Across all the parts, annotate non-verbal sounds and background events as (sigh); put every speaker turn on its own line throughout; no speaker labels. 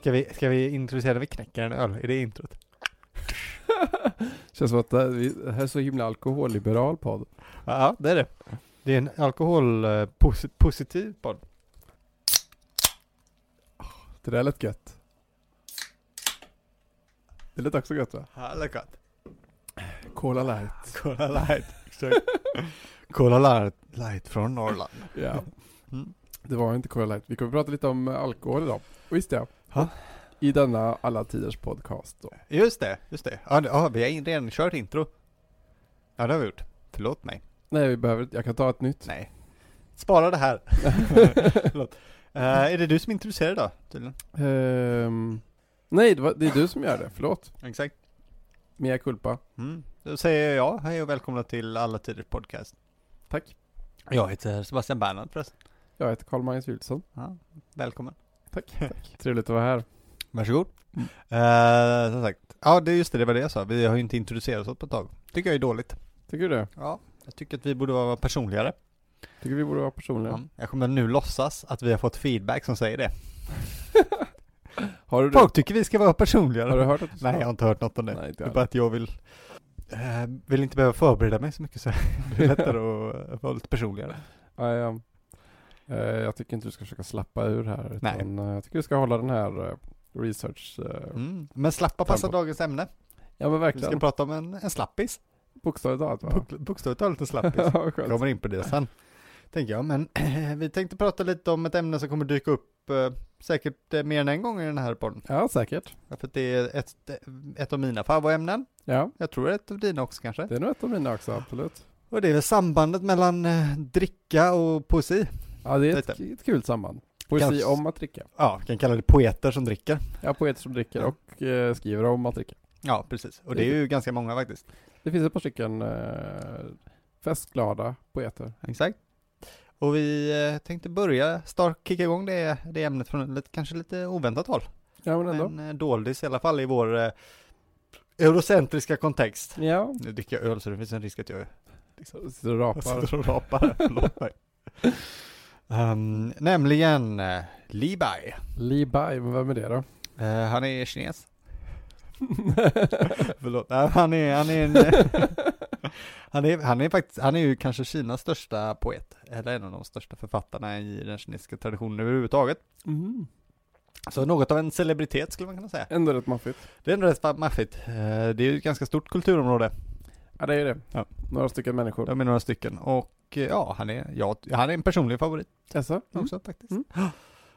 Ska vi, ska vi introducera när vi knäcker en öl? Är det introt?
Känns som att det här, vi- det här är så himla alkoholliberal podd.
Ja, det är det. Det är en alkoholpositiv podd.
Det där lät gött. Det lät också gött va?
Härligt.
Cola light.
Cola light. (laughs) Exakt. Cola light, light från Norrland.
Ja.
Mm.
Det var inte Cola light. Vi kommer prata lite om eh, alkohol idag. Och Visst ja.
Ja.
I denna alla tiders podcast då.
Just det, just det. Ja, det- ja vi har in- redan kört intro. Ja, det har vi gjort. Förlåt mig.
Nej vi behöver Jag kan ta ett nytt.
Nej. Spara det (laughs) här. Förlåt. Eh, är det du som introducerar idag? Tydligen.
Ehm, nej det, var, det är du som gör det. Förlåt.
Exakt.
Mea culpa.
Mm. Då säger jag hej och välkomna till Alla Tiders Podcast.
Tack.
Jag heter Sebastian Bernhard förresten.
Jag heter Carl-Magnus Wilson.
Ja, välkommen.
Tack. (laughs) Tack. Trevligt att vara här.
Varsågod.
Mm.
Eh, som sagt, ja det är just det, det var det jag sa. Vi har ju inte introducerat oss på ett tag. Tycker jag är dåligt.
Tycker du det?
Ja. Jag tycker att vi borde vara personligare.
Tycker vi borde vara personliga?
Ja. Jag kommer nu låtsas att vi har fått feedback som säger det.
Har du det?
Folk tycker vi ska vara personligare.
Har du hört att du sa?
Nej, jag har inte hört något om det.
Nej, inte
det är
jag.
bara att jag vill, eh, vill inte behöva förbereda mig så mycket så (laughs) det är lättare att eh, vara lite personligare.
Ja, ja. Eh, jag tycker inte du ska försöka slappa ur här.
Nej.
Utan, eh, jag tycker du ska hålla den här eh, research... eh,
Mm. Men slappa passar
Tempo.
dagens ämne.
Ja men
Vi ska
verkligen.
prata om en, en slappis.
Bokstavligt talat va?
Bok- Bokstavligt talat en slappis.
(laughs) Ja, skönt.
kommer in på det sen, tänker jag. Men (clears throat) vi tänkte prata lite om ett ämne som kommer dyka upp eh, säkert eh, mer än en gång i den här podden.
ja säkert.
Ja, För att det är ett, eh, ett av mina favoritämnen.
Ja,
Jag tror ett av dina också kanske.
det är nog ett av mina också, absolut.
Och det är väl sambandet mellan eh, dricka och poesi.
Ja, det är
Lite.
ett, k- ett kul samband. Poesi
Kanske.
om att dricka.
Ja, vi kan kalla det poeter som dricker.
Ja, poeter som dricker
Ja.
och eh, skriver om att dricka.
Ja, precis. Och det är ju ganska många faktiskt.
Det finns ett par stycken eh, festglada poeter.
Exakt. Och vi eh, tänkte börja start, kicka igång det, det ämnet från lite, kanske lite oväntat håll.
Ja, men ändå.
Men eh, doldis i alla fall i vår eh, eurocentriska kontext.
Ja,
Nu dricker jag öl så det finns en risk att jag Liksom.
sitter och rapar.
(laughs) sitter och rapar här, förlåt mig. Ehm, nämligen uh, Li Bai.
Li Bai, men vem är det då?
Eh, han är kines. förlåt, Nej, han är, han är en... (laughs) han, är, han är faktiskt, han är ju kanske Kinas största poet, eller en av de största författarna i den kinesiska traditionen överhuvudtaget. Mm.
Mhm.
Så något av en celebritet skulle man kunna säga.
Ändå rätt maffigt.
Det är ändå rätt maffigt. Eh, det är ju ett ganska stort kulturområde.
Ja det är ju det.
Ja.
Några stycken människor.
De är några stycken och eh, ja, han är, ja, han är en personlig favorit.
Jaså? Mm.
också faktiskt.
Mm.
Ja,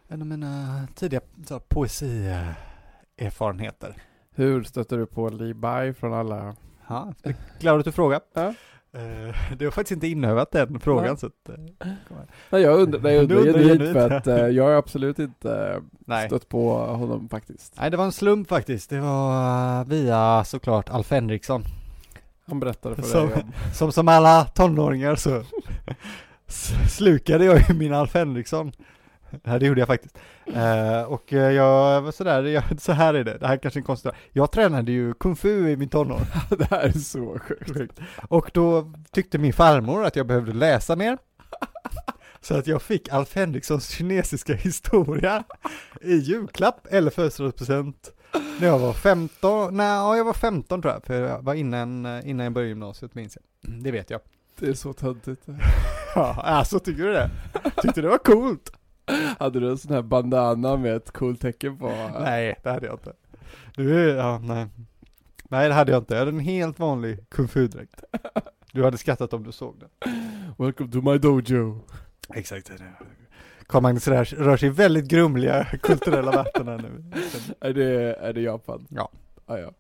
En av mina tidiga så här, poesierfarenheter.
Hur stöter du på Li Bai från alla?
Ja, glad att Eh, du frågar.
Ja.
Eh, Det har faktiskt inte inövat den frågan
Nej.
så att, eh,
Nej jag
(laughs)
undrar, nej, jag
Du
undrar
undrar
genuint
genuint,
för
ja.
att eh, jag har absolut inte eh,
nej.
stött på honom faktiskt.
nej, det var en slump faktiskt. Det var eh, via såklart Alf Henriksson.
Han berättade för
Så-
dig om. (laughs)
Som som alla tonåringar så s- slukade jag ju min Alf Henriksson. Ja, det gjorde jag faktiskt. Eh, och eh, jag var sådär, jag, så här är det, det här är kanske är en konstig Jag tränade ju kung fu i min tonår.
det här är så sjukt.
Och då tyckte min farmor att jag behövde läsa mer. Så att jag fick Alf Henriksons kinesiska historia i julklapp eller födelsedagspresent när jag var 15, nej ja, jag var 15 tror jag, för jag var innan, eh, innan jag började gymnasiet minns jag. Mm, Det vet jag.
Det är så töntigt.
Ja, alltså tycker du det? Tyckte du det var coolt?
Hade du en sån här bandana med ett coolt tecken
(laughs)
på? eh,
Nej, det hade jag inte. Du, ja, nej. Nej, det hade jag inte. Jag hade en helt vanlig kung fu-dräkt. Du hade skrattat om du såg den.
Welcome to my dojo.
(laughs) Exakt. Carl-Magnus rör, rör sig i väldigt
(laughs)
grumliga kulturella vatten här nu.
Är det, är det Japan?
Ja.
Ah, ja.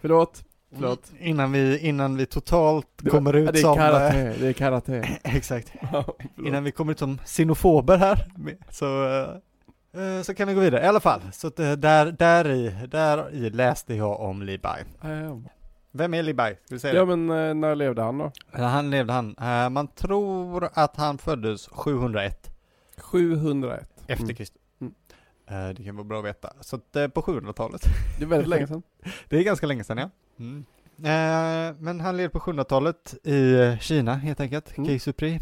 Förlåt. Förlåt.
Innan vi, innan vi totalt
Det-
kommer
Ja,
ut
det är
som... eh,
karate. Det
(laughs)
är karate.
Exakt.
Ja, förlåt.
Innan vi kommer ut som xenofober här. med- Så, eh, eh, så kan vi gå vidare. I alla fall, så att, eh, där, där, i, där i läste jag om Li Bai.
Ah, ja.
Vem är Li Bai? Ska vi säga det?
ja men eh, när levde han då?
Han levde han. Eh, Man tror att han föddes 701.
701.
Efter
Mm.
Kristus.
Mm.
Eh, Det kan vara bra att veta. Så att, eh, på 700-talet.
Det är väldigt länge sedan.
Det är ganska länge sedan ja. Mm. Eh, men han levde på 700-talet i Kina helt enkelt,
Mm.
Kei Supri.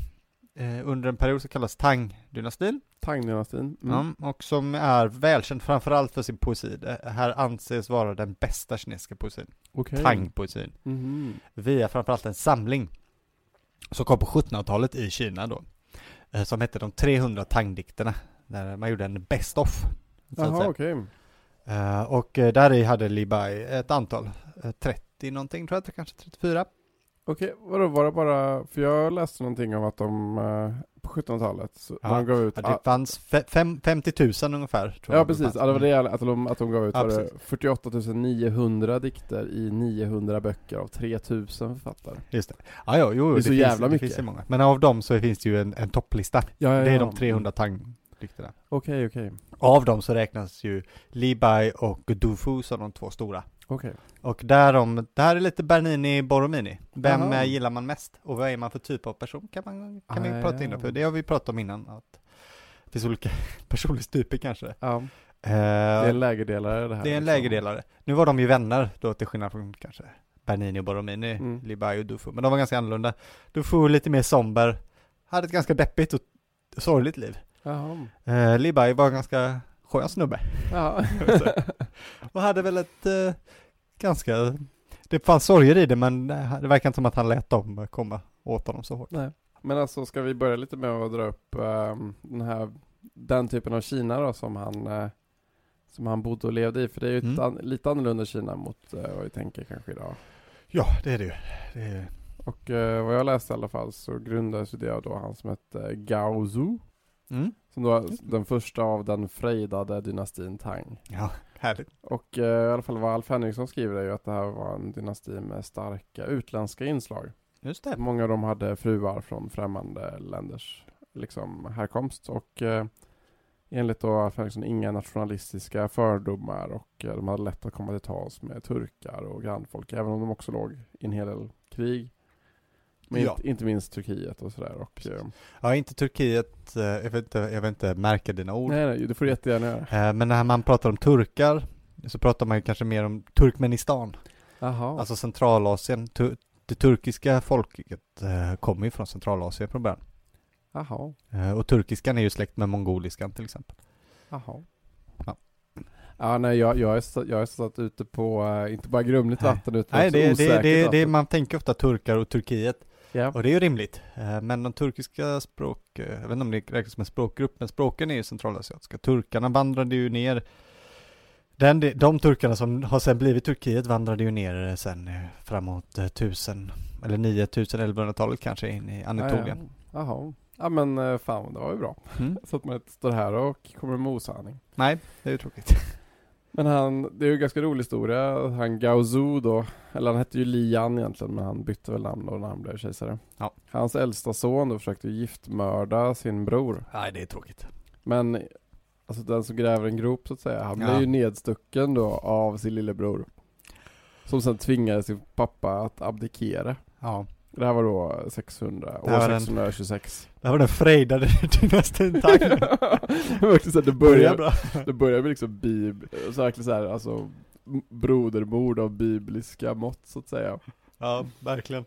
Eh, under en period som kallas Tang-dynastin.
Tang-dynastin. Mm.
Ja, och som är välkänd framförallt för sin poesi. Det här anses vara den bästa kinesiska poesin.
Okej.
Mm. Tang-poesin.
Mhm.
Via framförallt en samling. Som kom på 1700-talet i Kina då. Eh, som hette de 300 Tang-dikterna. Där man gjorde en best of. så att
Jaha,
säga.
okej.
Eh, och eh, där i hade Li Bai ett antal, eh, 30 någonting tror jag, kanske 34.
Okej, vadå var det bara, för jag läste någonting om att de eh, på 1700-talet, så
Ja,
när de gav ut,
Ja,
ah,
det fanns fe- fem, 50 000 ungefär. Tror
ja
jag
precis,
fanns.
ja, det var det jag, att, de, att de gav ut
Mm. Ja,
var det
precis.
48 900 dikter i 900 böcker av 3000 författare.
Just det. Ja, ja, jo,
Det är
det,
så
finns,
jävla
det
mycket.
finns ju många. Men av dem så finns det ju en, en topplista.
Ja,
Det är de 300 tangdikterna.
Okej, okej.
Av dem så räknas ju Li Bai och Du Fu som de två stora.
Okej.
Och därom, det här är lite Bernini Borromini. Vem
Aha.
eh, gillar man mest? Och vad är man för typ av person? Kan, man, kan
Ah,
vi prata
ja.
in på. Det har vi pratat om innan. Att det finns olika (laughs) personlighetstyper kanske.
Ja,
Eh,
det är en lägerdelare det här.
Det är en
liksom.
lägerdelare. Nu var de ju vänner då till skillnad från kanske Bernini och Borromini,
Mm.
Libai och Dufo. Men de var ganska annorlunda. Dufo var lite mer somber, hade ett ganska deppigt och sorgligt liv.
Jaha.
Eh, Libai var en ganska skön snubbe.
Ja.
(laughs) och hade väl ett eh, ganska, det fanns sorger i det men eh, det verkar inte som att han lät dem komma åt honom så hårt.
Nej. Men alltså ska vi börja lite med att dra upp ehm, den här, den typen av Kina då som han, eh, som han bodde och levde i? För det är ju ett
Mm.
an, lite annorlunda Kina mot eh, vad vi tänker kanske idag.
Ja, det är det ju. Det är ju.
Och eh, vad jag läste i alla fall så grundades ju det av då han som hette Gao Zhu.
Mm.
Som då var den första av den frejdade dynastin Tang.
Ja, härligt.
Och eh, i alla fall vad Alf Henriksson skriver är ju att det här var en dynasti med starka utländska inslag.
Just det.
Många av dem hade fruar från främmande länders liksom, härkomst och eh, enligt då Alf Henriksson inga nationalistiska fördomar och eh, de hade lätt att komma till tals med turkar och grannfolk även om de också låg i en hel del krig. Men
Ja.
inte, inte minst Turkiet och sådär. Och, eh,
Ja, inte Turkiet, eh, jag vill inte, jag vill inte märka dina ord.
nej, nej, det får du jättegärna göra.
Eh, Men när man pratar om turkar så pratar man ju kanske mer om Turkmenistan,
Jaha,
alltså Centralasien. Tu- det turkiska folket eh, kommer ju från Centralasien från början.
jaha,
Eh, och turkiskan är ju släkt med mongoliskan till exempel.
jaha.
Ja.
Ja, nej, jag, jag, är satt, jag är satt ute på, eh, inte bara grumligt
Nej.
vatten utan
Nej,
också
det, det,
osäkert
det, det,
vatten.
man tänker ofta turkar och Turkiet,
Ja.
och det är ju rimligt. Eh, men de turkiska språk, eh, jag vet inte om det räknas som en språkgrupp, men språken är ju centralasiatiska. Turkarna vandrade ju ner, den, de turkarna som har sen blivit Turkiet vandrade ju ner eh, sen eh, framåt eh, 1000, eller 9000, 1100-talet kanske in i Anatolien.
Ja, ja. Jaha. Ja men eh, fan, det var ju bra.
Mm.
Så att man inte står här och kommer med osanning.
Nej, det är ju tråkigt.
Men han, det är ju en ganska rolig historia. Han Gaozu då, eller han hette ju Lian egentligen men han bytte väl namn då när han blev kejsare.
Ja.
Hans äldsta son då försökte giftmörda sin bror.
Nej, det är tråkigt.
Men alltså den som gräver en grop så att säga, han
Ja.
blev ju nedstucken då av sin lillebror. Som sen tvingade sin pappa att abdikera.
Ja.
Det här var då 600,
Det här var
år
den-
626.
Det här var den frejdade (laughs) dynastin, (laughs)
(laughs)
tack.
det var verkligen så att det
Börjar
började,
bra.
Det börjar med liksom bib, så verkligen så här, alltså m- brodermord av bibliska mått så att säga.
Ja, verkligen.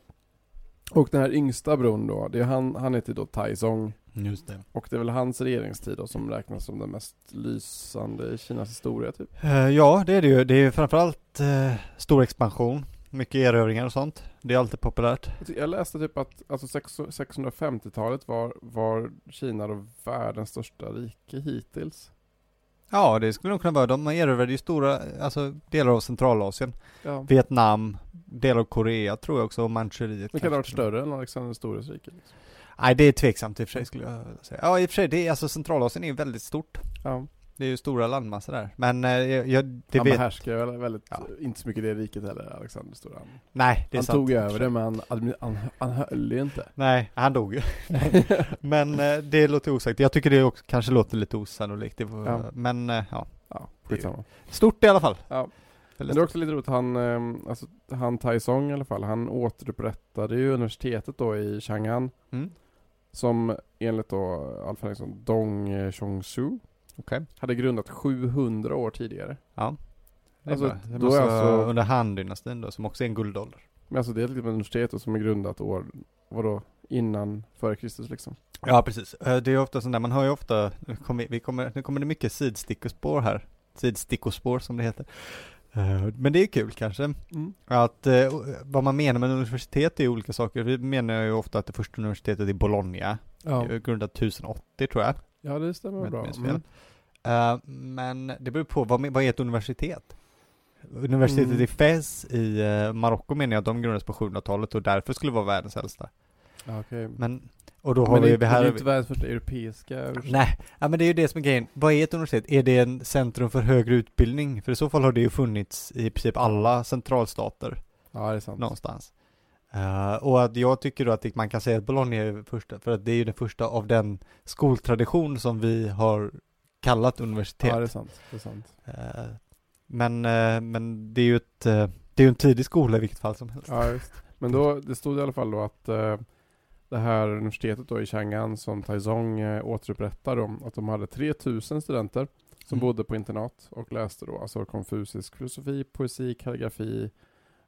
Och den här yngsta bron då, det är han, han heter då Taizong.
Just det.
Och det är väl hans regeringstid då som räknas som den mest lysande i Kinas historia typ.
Eh, Ja, det är det ju. Det är ju framförallt eh, stor expansion, mycket erövringar och sånt. Det är alltid populärt.
Jag ty- Jag läste typ att alltså sex- 650-talet var, var Kina då världens största rike hittills.
Ja, det skulle nog kunna vara. De erövrade ju stora, alltså delar av Centralasien.
Ja.
Vietnam, delar av Korea tror jag också, och Manchuriet.
Det kan ha varit
kanske.
större än Alexander den stores rike. Liksom.
Nej, det är tveksamt i och för sig skulle jag säga. Ja, i och för sig, det är, alltså Centralasien är ju väldigt stort.
Ja.
Det är ju stora landmassor där. Men eh, jag, jag, det
han
vet...
behärskar väl väldigt,
Ja.
inte så mycket det riket heller, Alexander den store. Han-
Nej, det är
han
sant.
tog över det men han, admi- han, han höll ju inte.
Nej, han dog
(laughs)
ju. men eh, det låter osagt. Jag tycker det också kanske låter lite osannolikt. Det var,
Ja.
Men eh, ja,
ja,
det är
skitsamma.
stort i alla fall.
Ja. Men
Väldigt
det är också lite roligt, han, ehm, alltså, han Taizong i alla fall, han återupprättade ju universitetet då i Chang'an.
Mm.
Som enligt då Alf Henriksson Dong Chongsu
Okej.
hade grundat 700 år tidigare.
Det är
Alltså,
bra. det
då
måste
är
vara
alltså-
under Han-dynastin då, som också är en guldålder.
Men alltså det är ett litet universitet då som är grundat år, vadå, innan, före Kristus liksom.
Ja, precis. Eh, Det är ofta sånt där, man hör ju ofta, nu kommer, vi kommer, nu kommer det mycket sidstickspår här. Sidstickspår som det heter. Eh, Men det är kul kanske.
Mm.
Att eh, vad man menar med universitet är olika saker. Vi menar ju ofta att det första universitetet i Bologna,
Ja.
det är grundat 1080 tror jag. om
ja, det
jag
stämmer
inte
bra.
minns
Mm.
fel. Eh, Men det beror på, vad, me- vad är ett universitet? Universitetet
Mm.
i Fez i eh, Marocko menar jag att de grundades på 700-talet och därför skulle vara världens äldsta.
Ja, okej.
Men, och då har
Men det,
vi vi
är- det
här...
är ju inte världens första europeiska universitet.
Nej, ja, men det är ju det som är grejen. Vad är ett universitet? Är det en centrum för högre utbildning? För i så fall har det ju funnits i princip alla centralstater
Ja, det är sant.
någonstans. Eh, och att jag tycker då att det- man kan säga att Bologna är första, för att det är ju den första av den skoltradition som vi har kallat universitet.
Ja, det är sant. Det är sant.
Eh, men, eh, men det är ju ett, eh, det är ju en tidig skola i vilket fall som helst.
Ja, just. Men då, det stod i alla fall då att eh, det här universitetet då i Chang'an som Taizong eh, återupprättar då, att de hade 3000 studenter som
Mm.
bodde på internat och läste då alltså konfucisk filosofi, poesi, kalligrafi,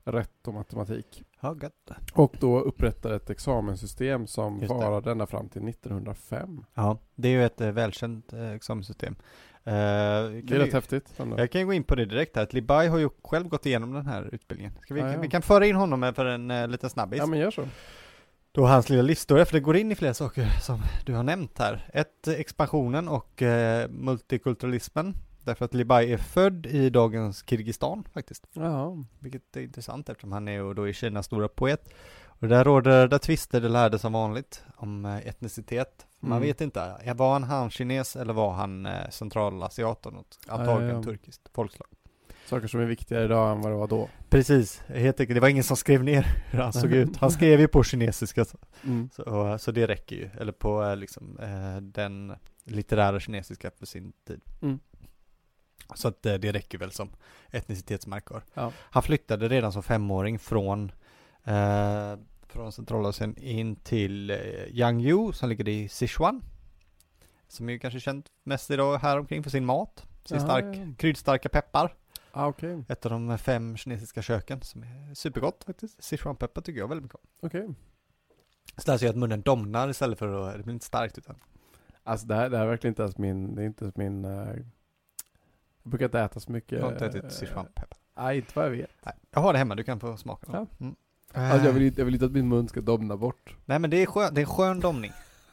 rätt och matematik.
Ja, gött.
Och då upprättade ett examenssystem som
Just det.
varade ända fram till 1905.
Ja, det är ju ett eh, välkänt eh, examenssystem. Eh, kan
Det är
vi-
rätt häftigt. ändå.
Jag kan ju gå in på det direkt här, att Libai har ju själv gått igenom den här utbildningen. Ska vi,
Ja, ja.
vi kan föra in honom här för en eh, liten snabbis.
Ja men gör så.
Då hans lilla livshistoria, för det går in i flera saker som du har nämnt här. Ett, eh, expansionen och eh, multikulturalismen. Därför att Libai är född i dagens Kirgizistan faktiskt.
Jaha.
Vilket är intressant eftersom han är ju då i Kinas stora poet. Och där råder där tvister det lärde som vanligt om eh, etnicitet. Man
Mm.
vet inte, eh, var han han-kines eller var han eh, centralasiat av något? Antagligen
ja.
turkiskt folkslag.
Saker som är viktigare idag än vad det var då.
Precis, helt enkelt. Det var ingen som skrev ner (laughs) hur han såg ut. Han skrev ju på kinesiska, så- så, så det räcker ju. Eller på eh, liksom, eh, den litterära kinesiska för sin tid.
Mm.
Så att eh, det räcker väl som etnicitetsmarkör.
Ja.
Han flyttade redan som femåring från, eh, från Centralasien in till eh, Yangju som ligger i Sichuan. Som är ju kanske känt mest idag här omkring för sin mat, sin
Ja,
stark,
ja.
kryddstarka peppar.
Ah, okej.
Ett av de fem kinesiska köken som är supergott faktiskt. Sichuanpeppar tycker jag väldigt mycket om.
Okej.
Så det här så gör att munnen domnar istället för att, det blir inte starkt utan.
Alltså det här, det här är verkligen inte ens min, det är inte ens min... eh, jag brukar inte äta så mycket.
Jag har inte ätit
eh,
sichuanpeppar.
Nej, inte vad jag vet.
Nej, jag har det hemma, du kan få smaka.
Ja.
Mm.
Alltså jag vill, inte- jag vill inte att min mun ska domna bort.
Nej men det är, skön, det är en skön domning.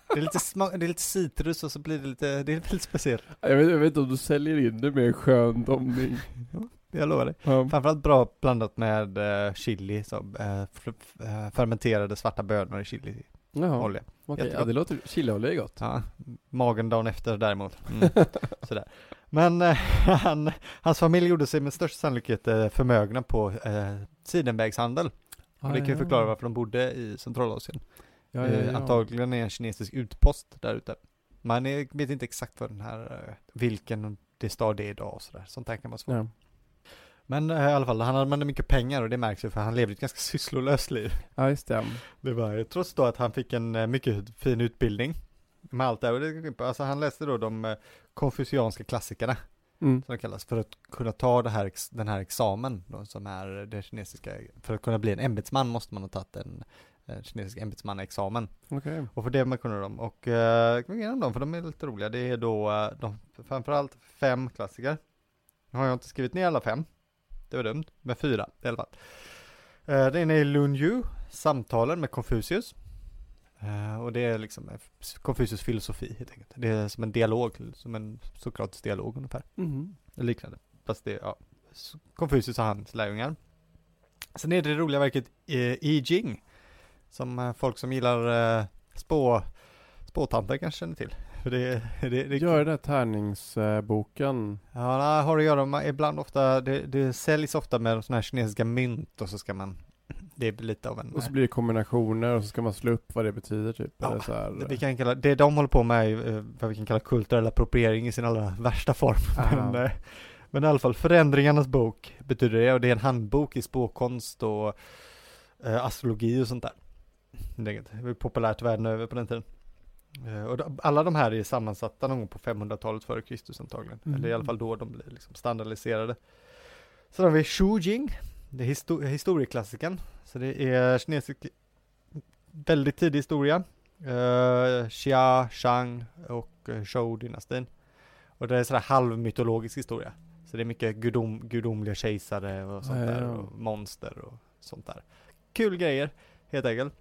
Det är, lite sma, det är lite citrus och så blir det lite, det är väldigt speciellt.
Jag vet, jag vet inte om du säljer in det med en
(laughs)
skön domning.
Jag lovar dig.
Ja.
Framförallt bra blandat med eh, chili, så, eh, f- f- eh, fermenterade svarta bönor i chiliolja.
Jaha, okej.
Jättegott.
Ja, det låter... Chiliolja är gott.
Ja, magen dagen efter däremot. Mm. (laughs) Sådär. Men eh, (laughs) han, hans familj gjorde sig med största sannolikhet eh, förmögna på eh, sidenvägshandel. och det kan ju förklara varför de bodde i Centralasien.
Ah, Ja, ja,
Eh,
ja.
Antagligen är en kinesisk utpost där ute. Man är, vet inte exakt vad den här, eh, vilken det stad det är idag och sådär. Sånt där kan vara svårt.
Ja.
Men eh, i alla fall, han använde mycket pengar och det märks ju för han levde ett ganska sysslolöst liv.
ja, just det.
Det var trots då att han fick en eh, mycket fin utbildning med allt det här. Och det- Alltså han läste då de eh, konfucianska klassikerna,
Mm.
som de kallas, för att kunna ta det här, ex- den här examen då, som är det kinesiska, för att kunna bli en ämbetsman måste man ha tagit en eh, kinesisk ämbetsmannaexamen.
Okej.
Och för det man kunde de, och eh, kan vi gå igenom dem för de är lite roliga. Det är då eh, de, framförallt fem klassiker. Nu har jag inte skrivit ner alla fem. Det var dumt, men fyra i alla fall. Eh, den ena är Lun Yu, Samtalen med Konfucius. Eh, och det är liksom eh, Konfucius filosofi helt enkelt. Det är som en dialog, som en Sokratisk dialog ungefär.
Mhm.
Eller liknande. Fast det, ja. S- Konfucius och hans lärjungar. Sen är det det roliga verket eh, I Ching. Som eh, folk som gillar eh, spå, spåtanter kanske känner till. För det, (laughs) det, det,
Gör den här tärningsboken.
Ja, det har att göra med, ibland ofta, det, det säljs ofta med sådana här kinesiska mynt och så ska man, det blir lite av en...
Och så blir det kombinationer och så ska man slå upp vad det betyder typ.
Ja,
Eller så här.
eh, vi kan kalla, det de håller på med är ju, eh, vad vi kan kalla kulturell appropriering i sin allra värsta form. (laughs)
Ah.
Men, eh, men i alla fall, Förändringarnas bok betyder det och det är en handbok i spåkonst och eh, astrologi och sånt där. Det är inget- det var ju populärt världen över på den tiden. Eh, Och de- alla de här är sammansatta någon gång på 500-talet före Kristus antagligen.
Mm.
Eller i alla fall då de blir liksom standardiserade. Sen har vi Shu Jing, det är histo- historieklassikern. Så det är kinesisk, väldigt tidig historia. Eh, Xia, Shang och eh, Zhou-dynastin. Och det är sådär halvmytologisk historia. Så det är mycket gudom, gudomliga kejsare och sånt
Ja, ja,
där.
ja.
Och monster och sånt där. Kul grejer, helt enkelt.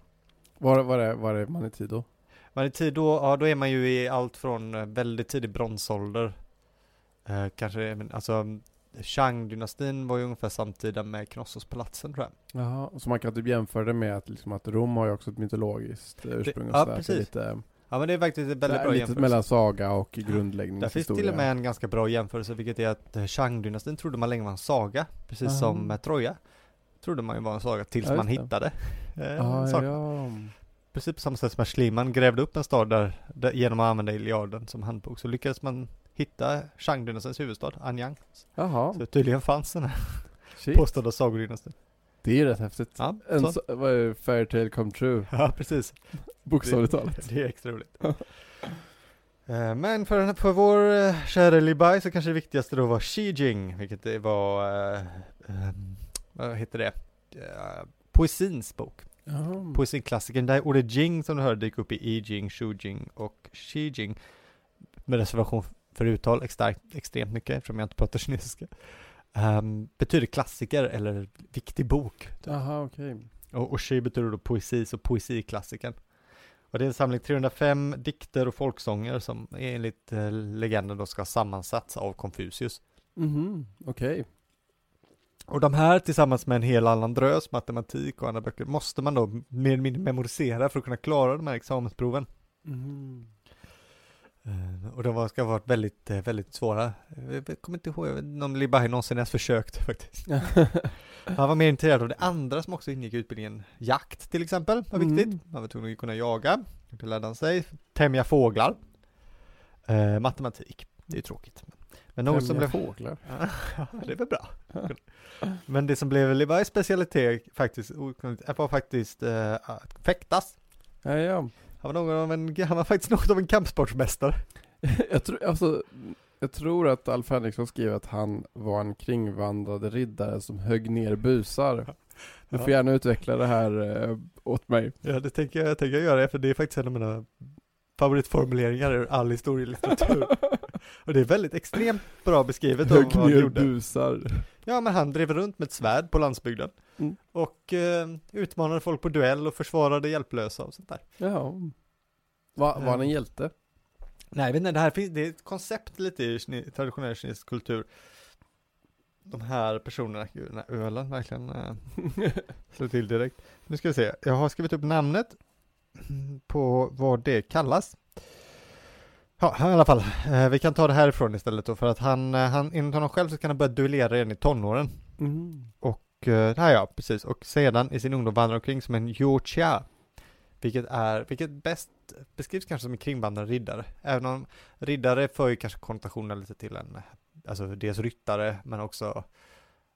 Var, var, är, var är man i tid då?
Men i tid då, ja, då är man ju i allt från eh, väldigt tidig bronsålder. Eh, kanske, men alltså mm, Shang-dynastin var ju ungefär samtida med Knossos-palatsen tror jag.
Jaha, så man kan typ jämföra det med att, liksom, att Rom har ju också ett mytologiskt eh, ursprung och
ja,
sådär. Så
precis.
Lite,
Ja men det är faktiskt en väldigt
där,
bra
lite
jämförelse.
mellan saga och
Där finns
grundläggningshistoria.
till och med en ganska bra jämförelse, vilket är att eh, Shang-dynastin trodde man länge var en saga, precis
Ah.
som eh, Troja. Trodde man ju var en saga tills
Ja, just
man
det.
hittade. Eh,
ah,
saker.
ja.
Precis på samma sätt som att Schliemann grävde upp en stad där, där genom att använda Iliaden som handbok, så lyckades man hitta Shang-dynastins huvudstad, Anyang.
Jaha,
Så tydligen fanns den här.
shit.
påstådda sagodynastin.
Det är ju rätt häftigt.
Ja,
En
så.
så, vad är fairytale come true,
ja, precis.
bokstavligt talat.
Det är extra roligt. Eh, Men för, för vår eh, kära Li Bai så kanske det viktigaste då var Xi Jing, vilket det var, eh, eh, vad heter det, Eh, poesins bok.
Mm. Jaha.
Poesiklassikern, där ordet Jing som du hörde dyker upp i I Jing, Shu Jing och Xi Jing. Med reservation för uttal extra, extremt mycket eftersom jag inte pratar kinesiska. Ehm, betyder klassiker eller viktig bok. typ.
Jaha, okej.
Och Oshi betyder då poesi, så poesiklassikern. Och det är en samling 305 dikter och folksånger som enligt eh, legenden då ska ha sammansatts av Konfucius.
Mhm, okej.
Och de här tillsammans med en hel annan drös, matematik och andra böcker, måste man då mer eller mindre memorisera för att kunna klara de här examensproven.
Mhm.
Eh, Och de var- ska ha varit väldigt, eh, väldigt svåra. Eh, Jag kommer inte ihåg jag vet inte om Libai någonsin ens försökt (laughs) faktiskt. Han var mer intresserad av det andra som också ingick i utbildningen. Jakt till exempel var viktigt.
Mm.
Man var tvungen att kunna jaga. Det lärde han sig. Tämja fåglar. Eh, matematik. Det är ju tråkigt. Men något som
Främja
blev... (laughs)
fåglar.
Ja, det är väl bra. Men det som blev Libais specialitet faktiskt, okunnigt, var faktiskt eh, att fäktas.
Ja, ja.
Han var, någon av en, han var faktiskt (laughs) något av en kampsportsmästare.
(laughs) jag, tror, alltså, jag tror att Alf Henriksson skrev att han var en kringvandrande riddare som högg ner busar. Du får
Ja.
gärna utveckla det här eh,
(laughs)
åt mig.
Ja, det tänker jag, jag tänker jag göra, för det är faktiskt en av mina favoritformuleringar ur all
(laughs)
historielitteratur. och det är väldigt extremt bra beskrivet om
Högg
vad han
ner
gjorde.
busar.
Ja, men han drev runt med ett svärd på landsbygden
Mm.
och eh, utmanade folk på duell och försvarade hjälplösa och sånt där.
Ja. Va, var han en hjälte?
Nej, jag vet inte, det här finns, det är ett koncept lite i kine, traditionell kinesisk kultur. De här personerna, gud, den här ölen verkligen eh, slår till direkt. Nu ska vi se, jag har skrivit upp namnet på vad det kallas. Ja, i alla fall, eh, vi kan ta det härifrån istället då, för att han, eh, han enligt honom själv så kan han börja duellera redan i tonåren.
Mm.
Och, eh, här ja, precis. Och sedan i sin ungdom vandrar omkring som en Yochia. Vilket är, vilket bäst beskrivs kanske som en kringvandrande riddare. Även om riddare för ju kanske konnotationen lite till en, alltså dels ryttare, men också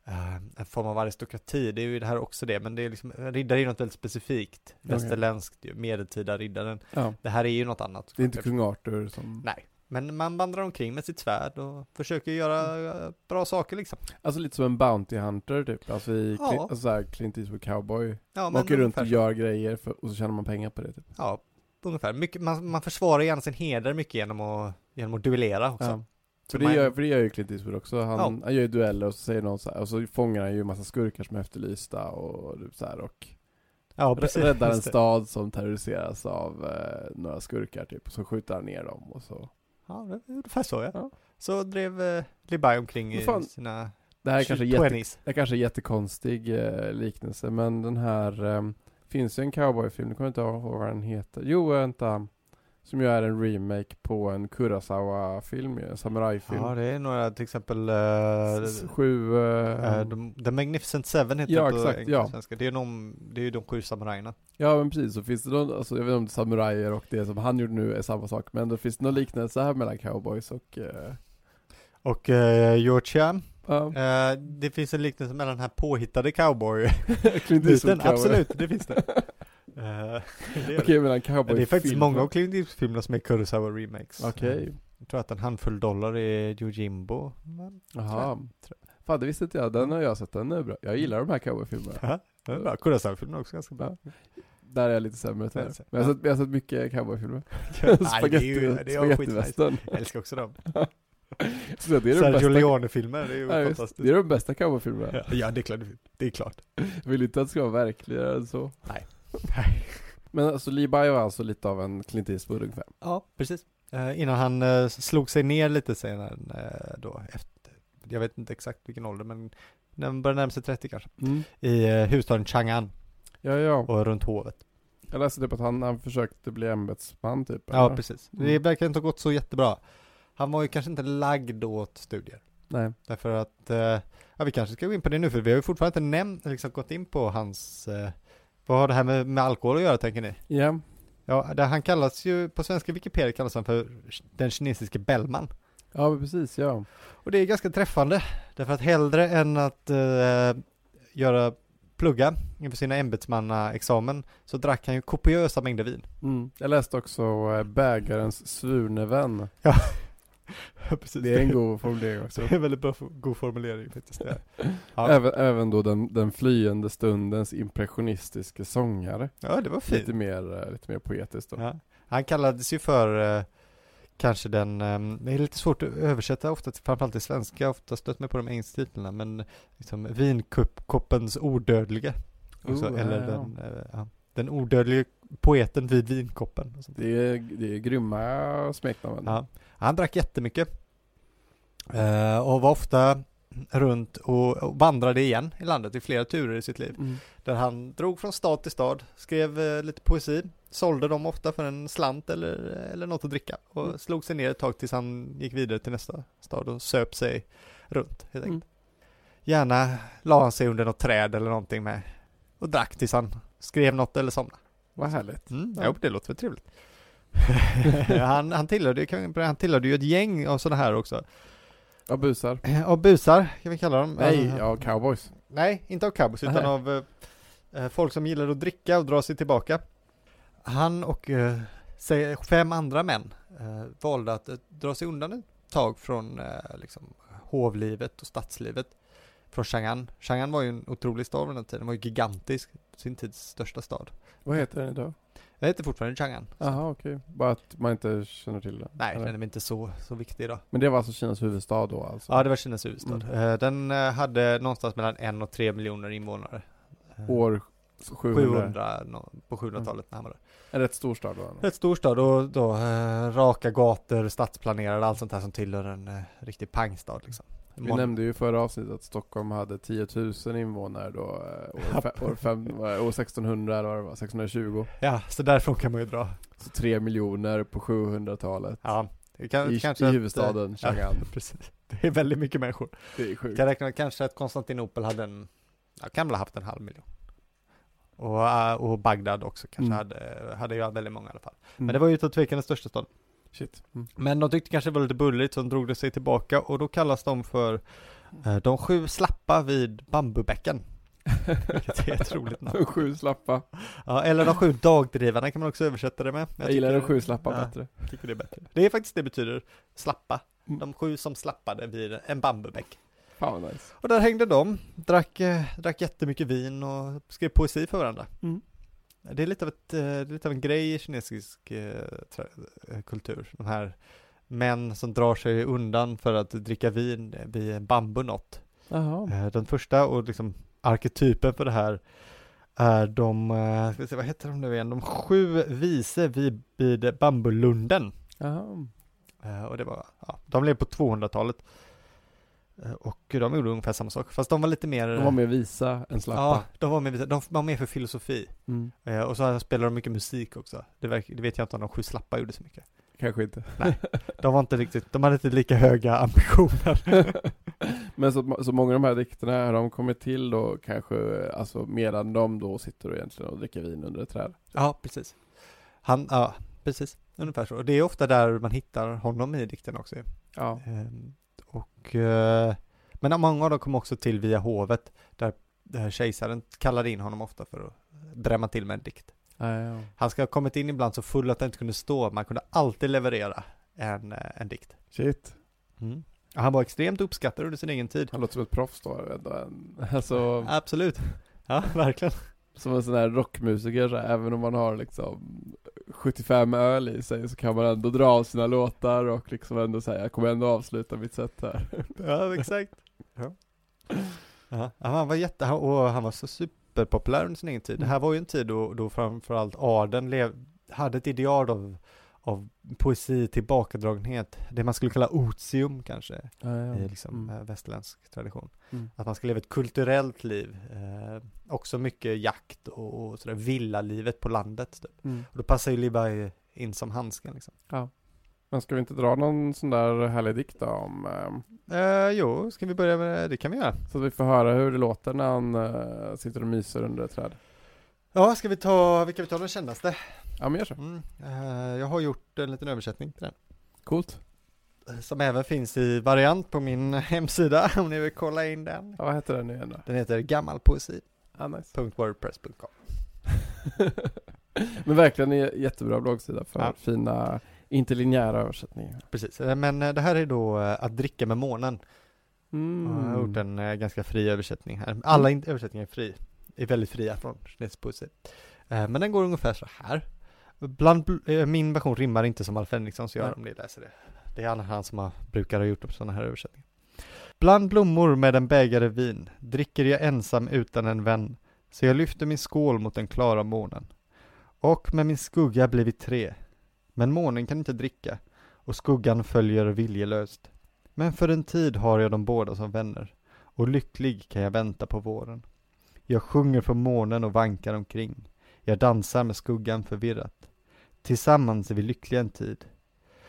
eh, en form av aristokrati. Det är ju det här också det, men det är liksom, riddare är ju något väldigt specifikt.
Okej.
Västerländskt, ju, medeltida riddaren.
Ja.
Det här är ju något annat.
Det är inte kung Arthur som...
Nej, men man vandrar omkring med sitt svärd och försöker göra
Mm.
eh, bra saker liksom.
Alltså lite som en Bounty Hunter typ. Alltså i
Ja.
Clint, alltså så här Clint Eastwood Cowboy.
Ja,
Man
men
åker runt
ungefär
och
så.
gör grejer för, och så tjänar man pengar på det typ.
Ja, ungefär. Mycket, man, man försvarar gärna sin heder mycket genom att, genom att duellera också.
Ja.
Så
För det,
man-
gör, för det gör ju Clint Eastwood också. Han, han gör ju dueller och så säger någon så här, och så fångar han ju en massa skurkar som är efterlysta och typ så här och
ja
rä- räddar en
Just det.
stad som terroriseras av eh, några skurkar typ. Och så skjuter han ner dem och så.
Ja, det är ungefär så ja.
Ja.
Så drev eh, Libai omkring
Vad
i
fan?
sina
Det här är kanske, jätte,
20s.
det här kanske är jättekonstig eh, liknelse men den här eh, finns ju en cowboyfilm, nu kommer jag inte ihåg vad den heter. Jo, vänta. Som ju är en remake på en Kurosawa-film, ju, en samurajfilm.
Ja, det är några till exempel eh,
S- Sju...
eh,
Eh,
de- The Magnificent Seven heter
Ja,
det på
exakt,
engelska
ja.
svenska. Det är, de, det är ju de sju samurajerna.
Ja men precis, så finns det någon, alltså jag vet inte om det är samurajer och det som han gjorde nu är samma sak, men då finns det någon liknelse här mellan cowboys och... eh,
Och eh, Georgia,
Ja,
eh, det finns en liknelse mellan den här påhittade cowboy
(laughs) Clint Eastwood
Biten,
cowboy.
absolut, det finns det. Eh, (laughs) det, är det.
(laughs) Okej, men han cowboy
Men det är faktiskt
film.
många av Clint Eastwood-filmerna som är Kurosawa remakes.
Okej.
Eh, Jag tror att en handfull dollar är Yojimbo. Men,
Jaha. Fan, det visste inte jag. Den har jag sett. Den är bra. Jag gillar de
(laughs)
här cowboyfilmerna.
ja, det är bra. Kurosawa-filmerna är också ganska bra. (laughs)
(laughs) Där är jag lite sämre tyvärr. Men jag har sett, jag har sett mycket cowboyfilmer.
(laughs)
(laughs)
Nej, det är ju- det är ju skitnice.
Spagettivästern. (laughs)
Jag älskar också dem.
Så det är de
Sergio
bästa-
Leone-filmer, det är ju
Ja, just.
fantastiskt.
Det är de bästa cowboyfilmerna.
Ja, det är klart. Det är klart.
Jag vill inte att det ska vara verkligare än så.
Nej.
(laughs) Men alltså Lee Bio är alltså lite av en Clint Eastwood ungefär.
Ja, precis. Eh, innan han eh, slog sig ner lite senare eh, då, efter, jag vet inte exakt vilken ålder, men när han började närma sig 30 kanske. I eh, huvudstaden Chang'an
Ja, ja.
och runt hovet.
Jag läste typ att han, han försökte bli ämbetsman typ.
Ja,
eller?
precis.
Mm.
Det verkar inte ha gått så jättebra. Han var ju kanske inte lagd åt studier.
Nej.
Därför att, eh, ja vi kanske ska gå in på det nu, för vi har ju fortfarande inte nämnt, liksom gått in på hans, eh, vad har det här med, med alkohol att göra tänker ni?
Ja.
Ja, det, han kallas ju, på svenska Wikipedia kallas han för den kinesiske Bellman.
Ja, men precis. Ja.
Och det är ganska träffande, därför att hellre än att eh, göra plugga inför sina ämbetsmannaexamen så drack han ju kopiösa mängder
(laughs)
vin.
Mm. Jag läste också eh, bägarens svurne vän.
Precis.
Det är
(laughs)
en god formulering också.
en väldigt bra, god formulering faktiskt. Ja. Ja.
Även, även då den, den flyende stundens impressionistiska sångare.
ja, det var fint.
Lite mer, eh, lite mer poetiskt då.
Ja. Han kallades ju för eh, kanske den, eh, det är lite svårt att översätta ofta, till, framförallt till svenska, Jag har ofta stött mig på de engelska titlarna, men liksom vinkoppens odödlige. Också,
Oh,
eller
ja, ja.
den, eh, ja, den odödlige poeten vid vinkoppen. Och sånt.
Det, är, det är grymma smeknamn.
Ja. Han drack jättemycket. Eh, och var ofta runt och, och vandrade igen i landet i flera turer i sitt liv.
Mm.
Där han drog från stad till stad, skrev eh, lite poesi, sålde dem ofta för en slant eller, eller något att dricka och
Mm.
slog sig ner ett tag tills han gick vidare till nästa stad och söp sig runt helt enkelt.
Mm.
Gärna la han sig under något träd eller någonting med och drack tills han skrev något eller somnade.
Vad härligt.
Mm,
Ja.
ja. det låter väl trevligt. (laughs) han, han, tillhörde, ju- han tillhörde ju ett gäng av sådana här också.
Ja, busar.
Eh, Av busar, kan vi kalla dem.
Nej,
Eh,
ja, cowboys.
Nej, inte av cowboys, utan
Nej.
av eh, eh, folk som gillar att dricka och dra sig tillbaka. Han och eh, säg, fem andra män eh, valde att eh, dra sig undan ett tag från eh, liksom, hovlivet och stadslivet. Från Chang'an. Chang'an var ju en otrolig stad vid den här tiden, den var ju gigantisk, sin tids största stad.
Vad heter den idag?
Den heter fortfarande Chang'an. så-
Jaha, okej. Bara att man inte känner till den.
Nej,
Eller?
den är väl inte så, så viktig idag.
Men det var alltså Kinas huvudstad då alltså?
Ja, det var Kinas huvudstad. Eh, Den eh, hade någonstans mellan en och tre miljoner invånare. Eh,
År 700.
700 nå- på 700-talet när han var där.
En rätt stor stad då? eller?
Rätt stor stad och då eh, raka gator, stadsplanerade, allt sånt här som tillhör en eh, riktig pangstad liksom.
Vi
Mon-
nämnde ju i förra avsnittet att Stockholm hade 10 000 invånare då, eh, år,
(laughs)
fe- år, fem, vad är det, år 1600 eller vad det var, 1620.
Ja, så därifrån kan man ju dra.
Så 3 miljoner på 700-talet.
Ja, det kan,
I,
kanske
I
att, eh,
huvudstaden
ja.
Chang'an.
eh, (laughs) precis. Det är väldigt mycket människor.
Det är
Jag
sjukt.
kan räkna kanske att Konstantinopel hade en, ja, kan väl ha haft en halv miljon. Och, eh, och Bagdad också kanske
Mm.
hade, hade ju väldigt många i alla fall.
Mm.
Men det var ju utan tvekan den största staden.
Shit. Mm.
Men de tyckte kanske det var lite bulligt så de drog det sig tillbaka och då kallas de för eh, de sju slappa vid bambubäcken. Vilket är ett roligt
(laughs)
namn.
(laughs) Sju slappa.
Ja, eller de sju dagdrivarna kan man också översätta det med.
Jag, gillar de
tycker-
sju slappa
ja,
bättre.
jag tycker det är bättre. Det är faktiskt det betyder slappa.
Mm.
De sju som slappade vid en bambubäck.
Fan vad nice.
Och där hängde de, drack, eh, drack jättemycket vin och skrev poesi för varandra.
Mm.
Det är lite av, ett, eh, det är lite av en grej i kinesisk eh, tra- eh, kultur. De här män som drar sig undan för att dricka vin vid en bambunott.
Jaha.
Eh, Den första och liksom arketypen för det här är de, eh, ska vi se, vad heter de nu igen, de sju vise vid, vid bambulunden.
Jaha.
Eh, Och det var, ja, de levde på 200-talet. Eh, Och de gjorde ungefär samma sak, fast de var lite mer...
De var mer visa än slappa.
Ja, de var med, de var med för filosofi.
Mm.
Eh, och så spelade de mycket musik också. Det, verk, det vet jag inte om de sju slappa gjorde så mycket.
Kanske inte.
De var inte riktigt, de hade inte lika höga ambitioner.
Men så, så många av de här dikterna har de kommit till då kanske, alltså medan de då sitter och egentligen och dricker vin under ett träd.
ja, precis. Han, ja, precis. Ungefär så. Och det är ofta där man hittar honom i dikten också. ju.
Ja.
Ehm, och, eh, men många av dem kom också till via hovet, där, där kejsaren kallade in honom ofta för att drämma till med en dikt.
ja.
Han ska ha kommit in ibland så full att han inte kunde stå, man kunde alltid leverera en, eh, en dikt.
Shit.
Mm. Han var extremt uppskattad under sin egen tid.
Han låter som ett proffs då. ändå en- Alltså,
Absolut. Ja, (laughs) verkligen.
som en sån här rockmusiker, så här, även om man har liksom 75 öl i sig så kan man ändå dra av sina låtar och liksom ändå säga jag kommer ändå avsluta mitt set (laughs) här.
Ja, exakt. Ja. Ja, han var jätte, han- och han var så superpopulär under sin egen tid. Det här var ju en tid då, då framförallt adeln lev, hade ett ideal av, av poesi, tillbakadragenhet, det man skulle kalla otium kanske. i liksom, eh, västerländsk tradition.
Mm.
Att man ska leva ett kulturellt liv, eh, också mycket jakt och, och sådär villalivet på landet. Typ.
Mm.
Och då passar ju Libai in som handsken liksom.
Men ska vi inte dra någon sån där härlig dikt då om ehm,
Eh, jo, ska vi börja med det? kan vi göra.
Så att vi får höra hur det låter när han eh, sitter och myser under ett träd.
Ja, ska vi ta, vilka vi tar de kändaste?
Ja men gör så.
Mm. Eh, jag har gjort en liten översättning till den.
Coolt.
eh, Som även finns i variant på min (laughs) hemsida, om ni vill kolla in den.
Ja, vad heter den nu igen då?
Den heter gammalpoesi.wordpress.com
Ah, nice. (laughs) men verkligen en jättebra bloggsida för
Ja.
fina interlinjära översättningar.
Precis, eh, men eh, det här är då eh, Att dricka med månen
Mm.
Jag har gjort en eh, ganska fri översättning här. Alla in- översättningar är fri, är väldigt fria från kinesisk poesi. Eh, Men den går ungefär så här. Bland, bl- eh, min version rimmar inte som Alf Henriksons gör
Nej.
om ni läser det. Det är annars han som har, brukar ha gjort upp sådana här översättningar. Bland blommor med en bägare vin dricker jag ensam utan en vän, så jag lyfter min skål mot den klara månen. Och med min skugga blir vi tre, men månen kan inte dricka, och skuggan följer viljelöst. Men för en tid har jag dem båda som vänner, och lycklig kan jag vänta på våren. Jag sjunger för månen och vankar omkring, jag dansar med skuggan förvirrat. Tillsammans är vi lyckliga en tid.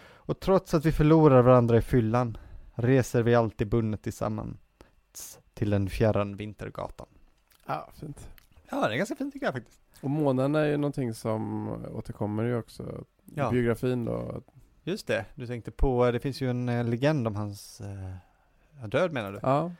Och trots att vi förlorar varandra i fyllan, reser vi alltid bundet tillsammans till den fjärran vintergatan.
Ja, fint.
Ja, det är ganska fint tycker jag faktiskt.
Och månen är ju någonting som återkommer ju också i
Ja.
biografin då.
Just det, du tänkte på, det finns ju en eh, legend om hans eh, död menar du?
Ja,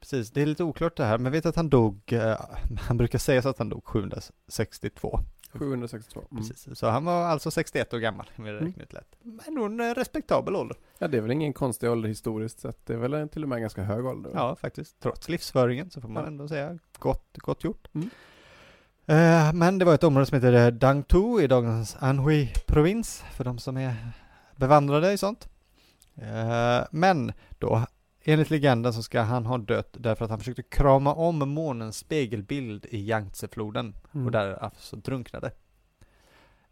Precis, det är lite oklart det här, men vet att han dog, eh, (laughs) han brukar säga så att han dog 762.
Mm. 762. Mm.
Precis. Så han var alltså 61 år gammal, om jag räknar ut lätt. Men ändå en eh, respektabel ålder.
Ja, det är väl ingen konstig ålder historiskt sett. Det är väl en- till och med en ganska hög ålder.
Ja, faktiskt. Trots livsföringen så får man
Ja.
ändå säga gott, gott gjort.
Mm.
Eh, men det var ett område som heter eh, Dangtu i dagens Anhui-provins, för de som är bevandrade i sånt. Eh, men då, enligt legenden så ska han ha dött därför att han försökte krama om månens spegelbild i Yangtzefloden.
Mm.
och där alltså drunknade.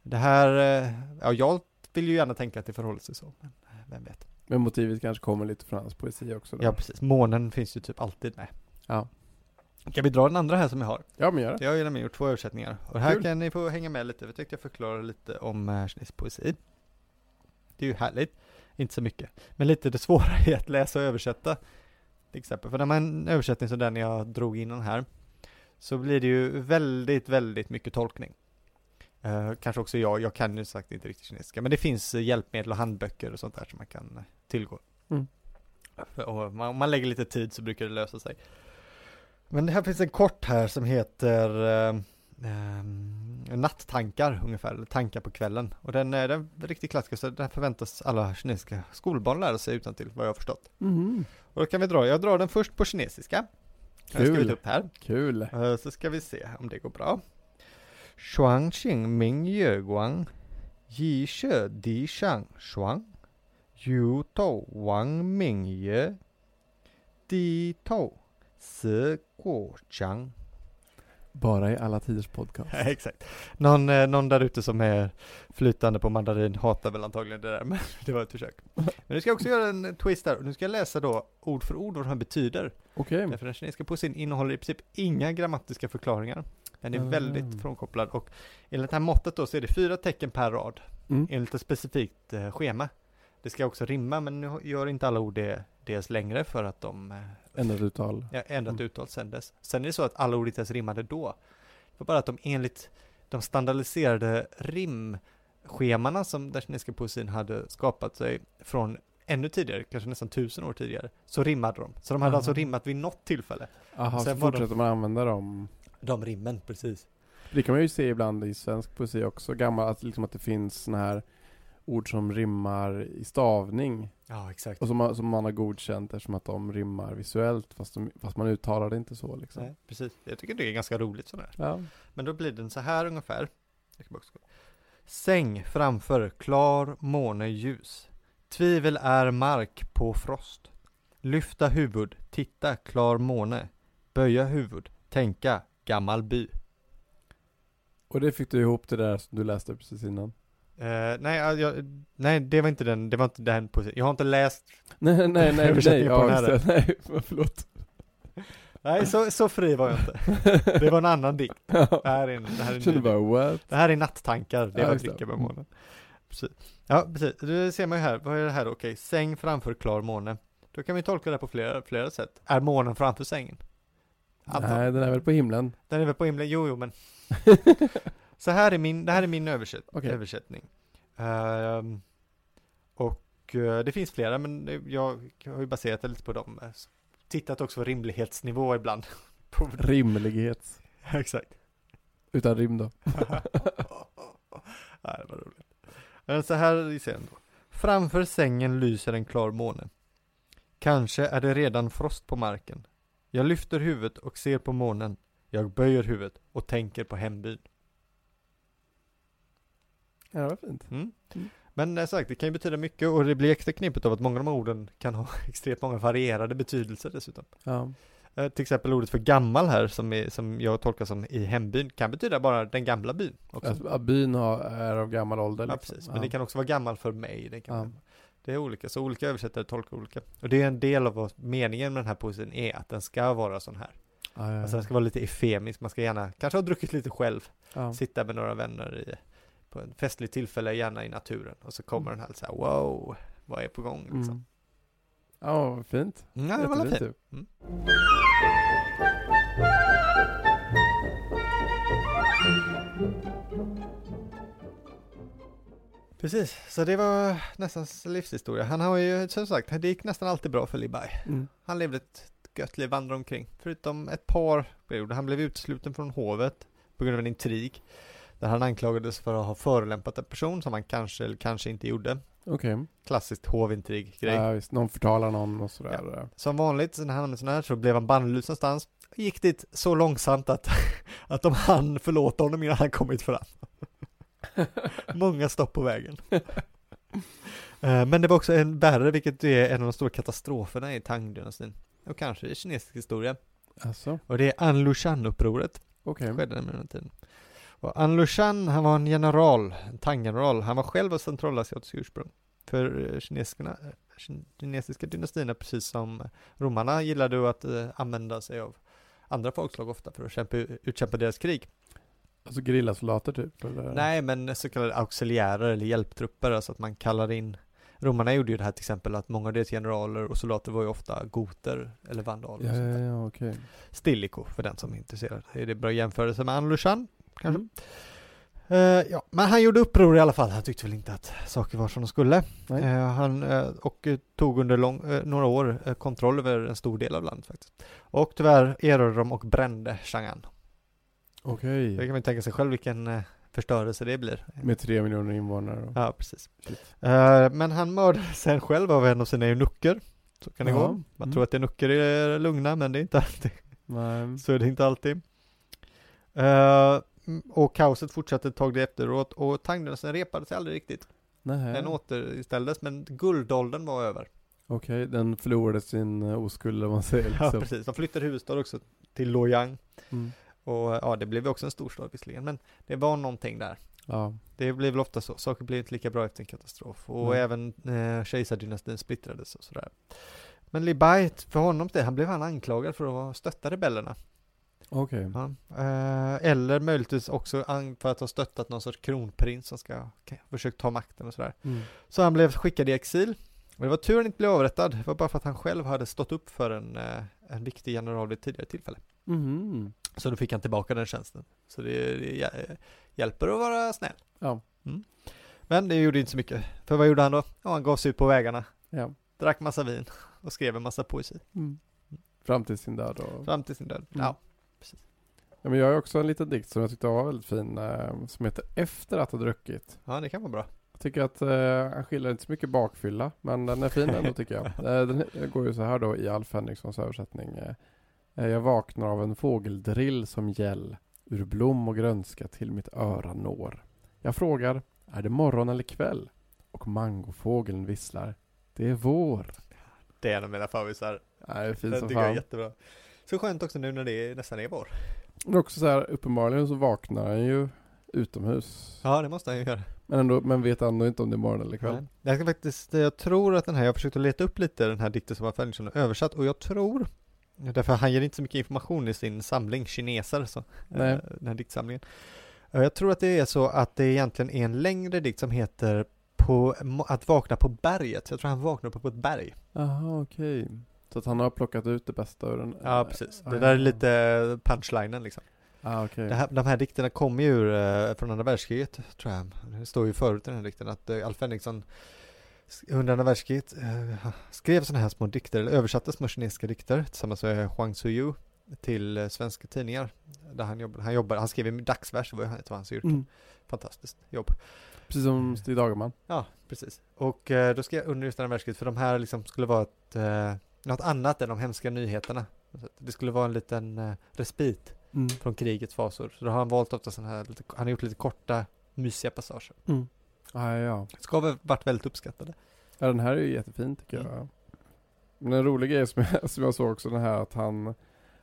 Det här, eh, ja jag vill ju gärna tänka att det förhåller sig så, men eh, vem vet.
Men motivet kanske kommer lite från hans poesi också. Då.
Ja precis, månen finns ju typ alltid med.
Ja.
Kan vi dra den andra här som jag har?
ja, men gör det.
Jag har ju nämligen gjort två översättningar. Och här
Kul.
kan ni få hänga med lite, för jag tänkte jag förklara lite om eh, kinesisk poesi. Det är ju härligt, inte så mycket. Men lite det svåra är att läsa och översätta. Till exempel, för när man en översättning som den jag drog innan här, så blir det ju väldigt, väldigt mycket tolkning. Eh, kanske också jag, jag kan ju som sagt inte riktigt kinesiska, men det finns eh, hjälpmedel och handböcker och sånt där som man kan eh, tillgå.
Mm.
För- Och om man, om man lägger lite tid så brukar det lösa sig. Men det här finns en kort här som heter eh, ehm, Nattankar ungefär, eller tankar på kvällen. Och den är den är riktigt klassiska, så den här förväntas alla kinesiska skolbarn lära sig utan till vad jag har förstått.
Mhm.
Och då kan vi dra, jag drar den först på kinesiska. Jag har
Kul.
skrivit upp här.
Kul.
Eh, Så ska vi se om det går bra. Shuang Qing Ming Yue Guang Yi She Di Shang Shuang Yu Tou Wang Ming Ye Di Tou Si Guo Chang
Bara i alla tiders podcast.
(laughs) Exakt. Någon, eh, någon där ute som är flytande på mandarin hatar väl antagligen det där, (laughs) men det var ett försök. Men nu ska jag också göra en eh, twist där, och nu ska jag läsa då ord för ord vad de här betyder.
Okej.
Därför den kinesiska poesin innehåller i princip inga grammatiska förklaringar. Den är
Mm.
väldigt frånkopplad och enligt det här måttet då så är det fyra tecken per rad
Mm.
enligt ett specifikt eh, schema. Det ska också rimma men nu gör inte alla ord det dels längre för att de eh,
Ändrat uttal.
Ja, ändrat
Mm.
uttal sen dess. Sen är det så att alla ord inte ens rimmade då. Det var bara att de enligt de standardiserade rimschemana som den kinesiska poesin hade skapat sig från ännu tidigare, kanske nästan tusen år tidigare, så rimmade de. Så de hade
Aha.
alltså rimmat vid något tillfälle.
Jaha, så
Sen var det-
fortsätter man använda dem.
De rimmen, precis.
Det kan man ju se ibland i svensk poesi också, gammal, att, liksom att det finns såna här ord som rimmar i stavning
Ja, exakt.
och som man, som man har godkänt eftersom att de rimmar visuellt fast, de, fast man uttalar det inte så liksom.
Nej, precis. Jag tycker det är ganska roligt sådär.
Ja.
Men då blir den så här ungefär. Jag ska bara också- Säng framför klar måne ljus. Tvivel är mark på frost. Lyfta huvud, titta klar måne. Böja huvud, tänka gammal by.
Och det fick du ihop det där som du läste
(laughs)
precis innan?
Eh, nej, ja, jag, nej, det var inte den, det var inte den poesin. Jag har inte läst.
Nej, nej, (laughs) nej, nej, nej,
Översättningen på den
ja,
här.
just det. nej, men (laughs) förlåt.
Nej, så, så fri var jag inte.
(laughs)
Det var en annan dikt. Det här är en, det här är en ny
Kände
dikt.
bara what?
Det här är nattankar, det
Ja,
var
just det. Mm.
dricka med månen. Precis. Ja, precis. Det ser man ju här. Vad är det här då? Okej, säng framför klar måne. Då kan vi tolka det på flera, flera sätt. Är månen framför sängen?
Nej,
Antagligen.
den är väl på himlen.
Den är väl på himlen? Jo, jo,
(laughs)
men. Så här är min, det här är min översätt,
Okej.
översättning. Ehm, och eh, det finns flera, men jag har ju baserat det lite på dem. Tittat också på rimlighetsnivå ibland. (laughs) På-
Rimlighet.
Exakt.
Utan rim då.
(laughs) Nej, det var roligt. Men Så här i scenen då. Framför sängen lyser en klar måne. Kanske är det redan frost på marken. Jag lyfter huvudet och ser på månen. Jag böjer huvudet och tänker på hembyn.
Ja, det var fint.
Mm.
Mm.
Men som sagt, det kan ju betyda mycket och det blir extra knepigt av att många av de här orden kan ha (laughs) extremt många varierade betydelser dessutom.
Ja.
Eh, till exempel ordet för gammal här som, är, som jag tolkar som i hembyn kan betyda bara den gamla byn också.
Att, att byn har, är av gammal ålder
Ja,
liksom.
precis. Men det kan också vara gammal för mig. Det, kan
Ja.
vara- det är olika, så olika översättare tolkar olika. Och det är en del av vad meningen med den här poesin är, att den ska vara sån här.
Ja, ja,
Alltså den ska vara lite efemisk, man ska gärna, kanske ha druckit lite själv,
ja.
sitta med några vänner i, på ett festligt tillfälle, gärna i naturen. Och så kommer den här så här, wow, vad är på gång liksom.
Mm. Ja, vad fint.
Mm, ja, det var
Jättefint
fint.
ju.
Precis, så det var nästan hans livshistoria. Han har ju, som sagt, det gick nästan alltid bra för Libai.
Mm.
Han levde ett gött liv, vandrade omkring. Förutom ett par perioder. Han blev utesluten från hovet på grund av en intrig. Där han anklagades för att ha förolämpat en person som han kanske eller kanske inte gjorde.
Okej.
Klassiskt hovintrig-grej.
Ja, visst. Någon förtalar någon och sådär.
Som vanligt så när han hamnade sån här så blev han bannlyst någonstans. Gick dit så långsamt att, (laughs) att de hann förlåta honom innan han kommit fram. (laughs) Många stopp på vägen. Eh, Men det var också en värre, vilket är en av de stora katastroferna i Tang-dynastin. Och kanske i kinesisk historia.
Alltså,
Och det är Anlushan-upproret.
okej.
Det skedde nämligen under tiden. Och Anlushan, han var en general, en tanggeneral. Han var själv av centralasiatiskt ursprung. För eh, kineserna, eh, kin- kinesiska dynastierna, precis som romarna, gillade ju att eh, använda sig av andra folkslag ofta för att kämpa, utkämpa deras krig.
Alltså gerillasoldater typ? Eller?
Nej, men så kallade auxiliärer eller hjälptrupper, alltså att man kallar in Romarna gjorde ju det här till exempel att många av deras generaler och soldater var ju ofta goter eller vandaler. och
Ja,
sånt där.
ja, ja okej.
Stilicho för den som är intresserad. Är det bra jämförelse med Anlushan? Kanske.
Mm.
Eh, ja, men han gjorde uppror i alla fall. Han tyckte väl inte att saker var som de skulle.
Nej.
Eh, han, eh, och eh, tog under lång, eh, några år eh, kontroll över en stor del av landet faktiskt. Och tyvärr erövrade de och brände Chang'an.
Okej.
Det kan man ju tänka sig själv vilken eh, förstörelse det blir.
Med tre miljoner invånare och...
Ja, precis.
Shit.
Eh, men han mördades sen själv av en av sina eunucker. Så kan det
Ja.
gå. Man
Mm.
tror att eunucker är lugna, men det är inte alltid.
Nej.
Så är det inte alltid. Eh, mm, och kaoset fortsatte ett tag efteråt och tangdynastin repade sig aldrig riktigt.
Nej.
Den återställdes men guldåldern var över.
Okej, den förlorade sin eh, oskuld om man säger
Ja,
liksom.
precis. De flyttade huvudstad också till Luoyang.
Mm.
Och eh, ja, det blev ju också en storstad visserligen, men det var någonting där.
Ja.
Det blir väl ofta så, saker blir inte lika bra efter en katastrof. Och
Mm.
även eh, kejsardynastin splittrades och sådär. Men Li Bai, för honom det, han blev han anklagad för att stötta rebellerna.
Okej.
Ja. Eh, Eller möjligtvis också an- för att ha stöttat någon sorts kronprins som ska ka- försökt ta makten och sådär.
Mm.
Så han blev skickad i exil. Och det var tur han inte blev avrättad, det var bara för att han själv hade stått upp för en, eh, en viktig general vid ett tidigare tillfälle.
Mhm.
Så då fick han tillbaka den tjänsten. Så det, det hjä- hjälper att vara snäll.
Ja.
Mm. Men det gjorde inte så mycket. För vad gjorde han då? Ja, han gav sig ut på vägarna,
Ja.
drack massa vin och skrev en massa poesi.
Mm. Fram till sin död och...
Fram till sin död.
Mm.
Ja,
Ja, men jag har ju också en liten dikt som jag tyckte var väldigt fin, eh, som heter Efter att ha druckit.
Ja, det kan vara bra.
Jag tycker att eh, han skiljer inte så mycket bakfylla, men den är fin
(laughs)
ändå tycker jag. Eh, den går ju så här då i Alf Henriksons översättning. Eh, eh, jag vaknar av en fågeldrill som gäll, ur blom och grönska till mitt öra når. Jag frågar, är det morgon eller kväll? Och mangofågeln visslar, det är vår.
Det är en av mina favoriter.
Nej, det är fint
Den
som
tycker jag är
fan.
jättebra. Så skönt också nu när det nästan är vår.
Men också så här, uppenbarligen så vaknar han ju utomhus.
Ja, det måste han ju göra.
Men, ändå, men vet ändå inte om det är morgon eller kväll.
Nej. Jag ska faktiskt, jag tror att den här, jag försökte leta upp lite den här dikten som Alf Henrikson har översatt och jag tror, därför han ger inte så mycket information i sin samling kineser, så,
Nej.
eh, den här diktsamlingen. Eh, Jag tror att det är så att det egentligen är en längre dikt som heter på, mo- Att vakna på berget. Jag tror han vaknar uppe på ett berg.
Jaha, okej. Så att han har plockat ut det bästa ur den?
Ja, precis. Det där är lite punchlinen liksom.
Ah, okej.
Det här, de här dikterna kommer ju ur, eh, från andra världskriget, tror jag. Det står ju förut i den här dikten att eh, Alf Henriksson s- under andra världskriget eh, skrev sådana här små dikter, eller översatte små kinesiska dikter tillsammans med Huang Suyu till eh, svenska tidningar. Där han jobbade, han jobbade, han skrev i dagsvers, det var ju det var hans yrke.
Mm.
Fantastiskt jobb.
Precis
Mm.
som Stig Dagerman.
Ja, precis. Och eh, då skrev under just andra världskriget, för de här liksom skulle vara ett, eh, något annat än de hemska nyheterna. Så att Det skulle vara en liten eh, respit från krigets fasor. Så då har han valt ofta sådana här, lite, han har gjort lite korta, mysiga passager.
Ah, ja,
Ska ha varit väldigt uppskattade.
ja. Den här är ju jättefin tycker
Mm.
jag. Men en rolig grej som jag, (laughs) som jag såg också den här att han,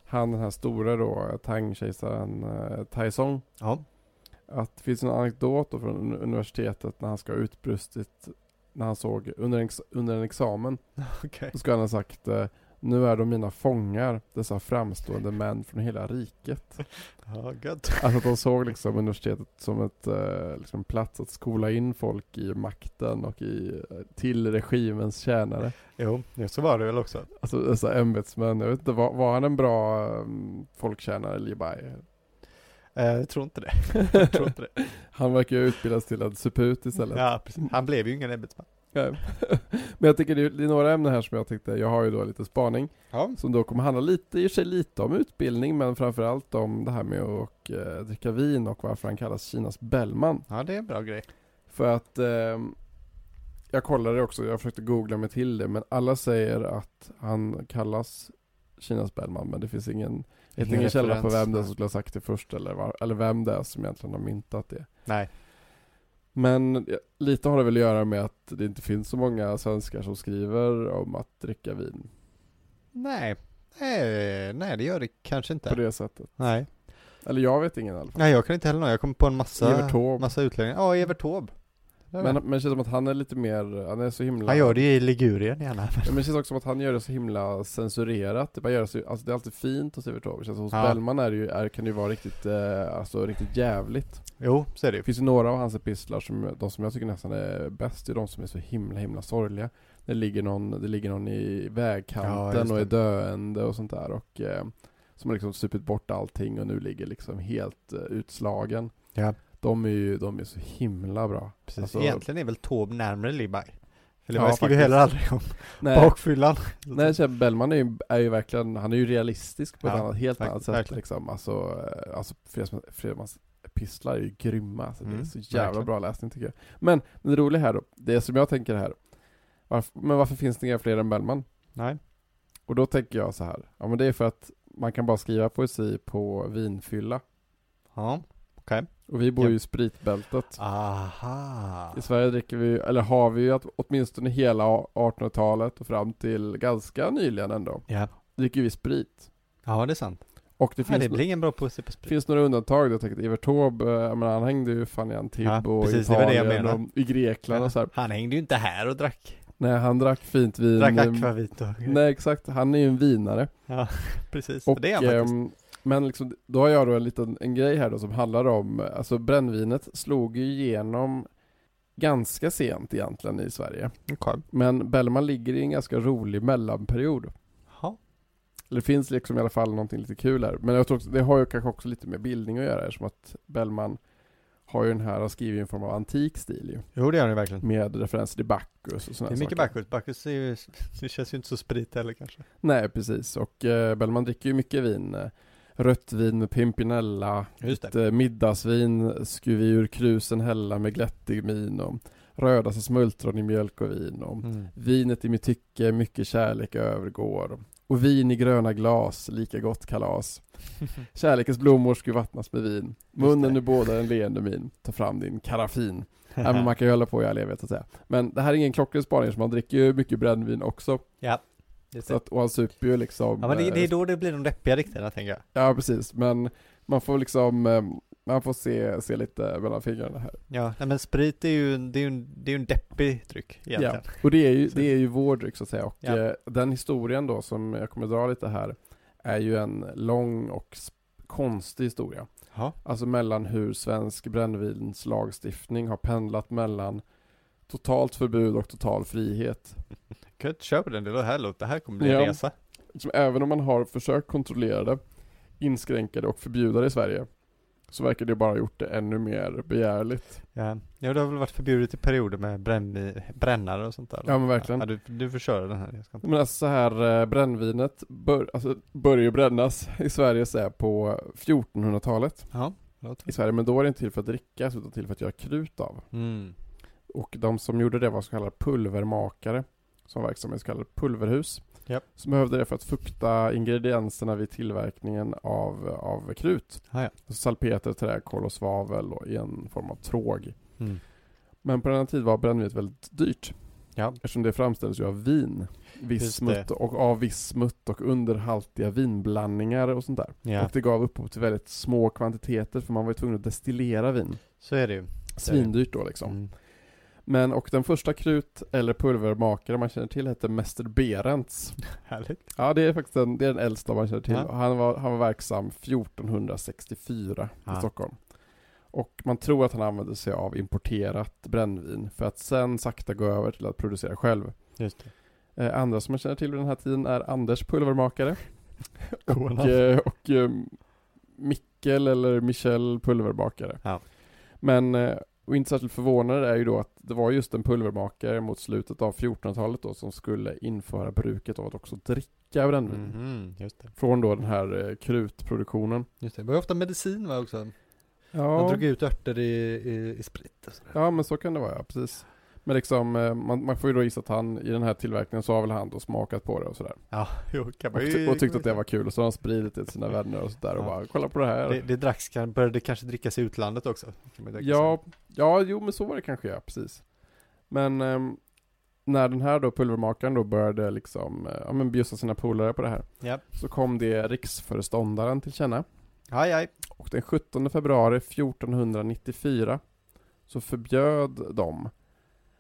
han den här stora då, Tang-kejsaren eh, Taizong.
Ja.
Att det finns en anekdot då från un- universitetet när han ska ha utbrustit, när han såg under en, ex- under en examen
Okej.
Då ska han ha sagt eh, Nu är de mina fångar, dessa framstående män från hela riket.
Ja, gött.
Alltså att de såg liksom universitetet som ett eh, liksom plats att skola in folk i makten och i, till regimens tjänare.
Jo, ja, så var det väl också.
Alltså dessa ämbetsmän, jag vet inte, var, var han en bra eh, folktjänare eller Libai?
Eh, jag tror (laughs) inte det. Jag tror inte det.
Han verkar ju utbildas till en suput istället.
Ja, precis. Han blev ju ingen ämbetsman.
Nej. Men jag tycker det är, det är några ämnen här som jag tyckte, jag har ju då lite spaning.
Ja.
Som då kommer handla lite, i och för sig lite om utbildning men framförallt om det här med att eh, dricka vin och varför han kallas Kinas Bellman.
Ja, det är en bra grej.
För att eh, jag kollade också, jag försökte googla mig till det men alla säger att han kallas Kinas Bellman men det finns ingen, jag vet
Ingen
ingen källa på
referens,
vem det är
nej.
som skulle ha sagt det först eller, var, eller vem det är som egentligen har myntat det.
Nej.
Men ja, lite har det väl att göra med att det inte finns så många svenskar som skriver om att dricka vin
Nej. Nej, nej det gör det kanske
på
inte.
det sättet.
Nej.
Eller jag vet ingen i alla fall.
Nej, jag kan inte heller någon. Jag kommer på en massa,
Evert Taube.
massa utlänningar. Ja, Evert Taube. Där
Men,
var.
men det känns som att han är lite mer, han är så himla...
Han gör det ju i Ligurien gärna.
Ja, Men det känns också som att han gör det så himla censurerat. Det, bara gör det, så, alltså det är alltid fint hos Evert Taube. Det känns som Hos
Ja.
Bellman är det ju, är, kan det ju vara riktigt, eh, alltså riktigt jävligt.
Jo, så är det
Det
ju.
finns ju några av hans epistlar som, de som jag tycker nästan är bäst, det är de som är så himla himla sorgliga. Det ligger någon, det ligger någon i
Ja,
vägkanten
just
och är
det.
döende och sånt där och eh, som har liksom supit bort allting och nu ligger liksom helt eh, utslagen.
Ja.
De är ju, de är så himla bra.
Precis.
Alltså-
Egentligen är väl Taube närmare Libai. För
Ja,
Libai skriver
faktiskt.
heller aldrig om
Nej.
bakfyllan.
Nej, så här, Bellman är ju, är ju verkligen, han är ju realistisk på ett
Ja,
annat, helt
verk-
annat sätt
verkligen.
liksom. Alltså, eh, alltså Fredmans- Fredmans epistlar är ju grymma. Alltså, det är
Mm,
så jävla
verkligen.
bra läsning tycker jag. Men det roliga här då, det som jag tänker här, varför, men varför finns det inga fler än Bellman?
Nej.
Och då tänker jag så här, ja men det är för att man kan bara skriva poesi på vinfylla.
Ja, okej.
Och vi bor
Ja.
ju i spritbältet.
Aha.
I Sverige dricker vi, eller har vi ju att, åtminstone hela 1800-talet och fram till ganska nyligen ändå,
Ja.
dricker vi sprit.
ja, det är sant.
Och det
Det,
finns
det blir ingen bra pussy på
Det
sprit.
finns några undantag. Jag tänkte Evert Taube, eh, jag menar, han hängde ju fan i
Ja,
Antibes och
precis, det var det jag
Italien
menar.
och i Grekland och så här.
Han hängde ju inte här och drack,
Nej, han drack fint vin.
drack
Mm,
akvavit och
Nej, exakt. Han är ju en vinare.
precis.
Och,
det är han faktiskt.
ehm, men liksom, då har jag då en liten en grej här då som handlar om, eh, alltså brännvinet slog ju igenom ganska sent egentligen i Sverige.
Okej.
Men Bellman ligger i en ganska rolig mellanperiod.
Ja.
Eller Det finns liksom i alla fall någonting lite kul här. Men jag tror också, det har ju kanske också lite med bildning att göra eftersom att Bellman har ju den här, han skriver ju en form av antik stil ju.
Jo, det gör han ju verkligen.
Med referenser till Bacchus och
Det
sådana
är mycket
Mm. saker.
Bacchus. Bacchus är ju, det känns ju inte så sprit heller kanske.
Nej, precis. Och eh, Bellman dricker ju mycket vin. eh, rött vin med pimpinella,
Just det.
ett eh, middagsvin skuv vi ur krusen hälla med glättig min och röda som smultron i mjölk och vin och (laughs)
Mm.
vinet i mitt tycke mycket kärlek övergår och vin i gröna glas, lika gott kalas. Kärlekens blommor skulle vattnas med vin. Munnen
det.
nu bådar en leende min. Ta fram din paraffin.
(laughs)
Ja, men man kan ju hålla på i all evighet så att säga. Men det här är ingen klockren spaning, så man dricker ju mycket brännvin också.
Just
Så
det.
att, och han super ju liksom.
Ja men det, det är
eh,
då det blir de deppiga rikterna tänker jag.
ja, precis. Men man får liksom, eh, man får se, se lite mellan fingrarna här.
Ja, nej, men sprit är ju, en- det är ju en, det är ju en deppig dryck egentligen.
Och det är ju,
Så-
det är ju vår dryck så att säga. Och
Ja.
eh, den historien då som jag kommer dra lite här är ju en lång och sp- konstig historia.
Ja.
Alltså mellan hur svensk brännvinslagstiftning har pendlat mellan totalt förbud och total frihet.
Gött, kör på den, det låter härligt. Det här kommer bli
Ja.
en resa.
som även om man har försökt kontrollera det, inskränka det och förbjuda det i Sverige, så verkar det bara ha gjort det ännu mer begärligt.
Ja. ja, det har väl varit förbjudet i perioder med bränn, brännare och sånt där.
Ja men verkligen.
Ja, du, du får köra den här. Jag ska inte...
Men alltså så här, eh, brännvinet bör, alltså, börjar ju brännas i Sverige så här, på 1400-talet.
Ja,
I Sverige, men då är det inte till för att drickas utan till för att göra krut av.
mm.
Och de som gjorde det var så kallade pulvermakare. Som verksamhet så kallade pulverhus.
Japp.
Som behövde det för att fukta ingredienserna vid tillverkningen av, av krut.
Ah, ja.
Alltså salpeter, träkol och svavel då, i en form av tråg.
Mm.
Men på denna tid var brännvinet väldigt dyrt.
Ja.
Eftersom det framställdes ju av vin. Viss
Just
smutt och av viss smutt och underhaltiga vinblandningar och sånt där.
ja,
Och det gav upphov till väldigt små kvantiteter för man var ju tvungen att destillera vin.
så är det ju.
Svindyrt då liksom.
Mm.
Men och den första krut eller pulvermakaren man känner till hette Mäster Berents.
Härligt.
Ja det är faktiskt den, det är den äldsta man känner till.
Ja.
Och Han, var, han var verksam 1464
Ja.
i Stockholm. Och man tror att han använde sig av importerat brännvin för att sen sakta gå över till att producera själv.
Just det.
Eh, andra som man känner till vid den här tiden är Anders Pulvermakare
Coola.
och, eh, och eh, Mikkel eller Michel Pulverbakare.
Ja.
Men, eh, och inte särskilt förvånande är ju då att det var just en pulvermakare mot slutet av 1400-talet då som skulle införa bruket av att också dricka brännvin.
Mhm, just det.
Från då den här eh, krutproduktionen.
Just det. Det var ju ofta medicin va också? De
Ja,
drog ut örter i, i, i sprit och sådär.
ja men så kan det vara, ja, precis. Men liksom, eh, man, man får ju då gissa att han i den här tillverkningen så har väl han då smakat på det och sådär.
Ja, jo, kan
Och,
man
ty- och tyckte att det var kul och så har han spridit det till sina vänner och sådär och
Ja.
bara kolla på det här.
Det, det dracks, kan- började kanske drickas i utlandet också. kan man tänka sig.
Ja, ja, jo men så var det kanske ja, precis. Men ehm, när den här då pulvermakaren då började liksom, eh, ja men bjussa sina polare på det här.
Ja.
Så kom det riksföreståndaren till känna.
Aj, aj.
Och den 17 februari 1494 så förbjöd de,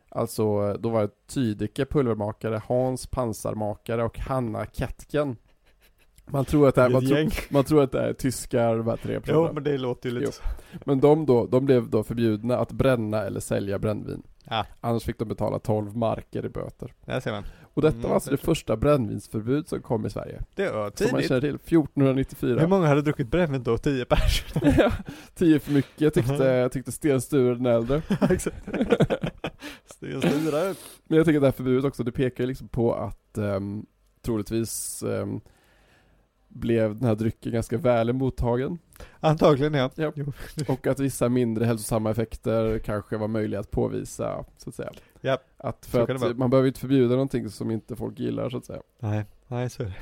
alltså då var det Tydike pulvermakare, Hans pansarmakare och Hanna Kättgen. Man tror att det här, man tror, man tror att det här är tyskar, de här tre personerna.
Jo, men det låter ju lite
Jo.
så.
Men de, då, de blev då förbjudna att bränna eller sälja brännvin.
Ja.
Annars fick de betala 12 marker i böter.
Där ser man.
Och detta
Mm,
var alltså det
det tror jag.
första brännvinsförbud som kom i Sverige.
Det var
Som man
tidigt.
känner till,
Hur
1494.
många hade druckit brännvin då? Tio pers? (laughs)
Ja, Tio för mycket tyckte, tyckte Sten Sture den äldre.
Exakt. Sten Sture.
Men jag tänker att det här förbudet också, det pekar ju liksom på att um, troligtvis ehm, blev den här drycken ganska väl mottagen.
Antagligen ja.
Ja.
Jo.
Och att vissa mindre hälsosamma effekter kanske var möjliga att påvisa, så att säga.
Ja,
Att
så
för
kan det vara.
att man behöver inte förbjuda någonting som inte folk gillar, så att säga.
Nej, nej så är det.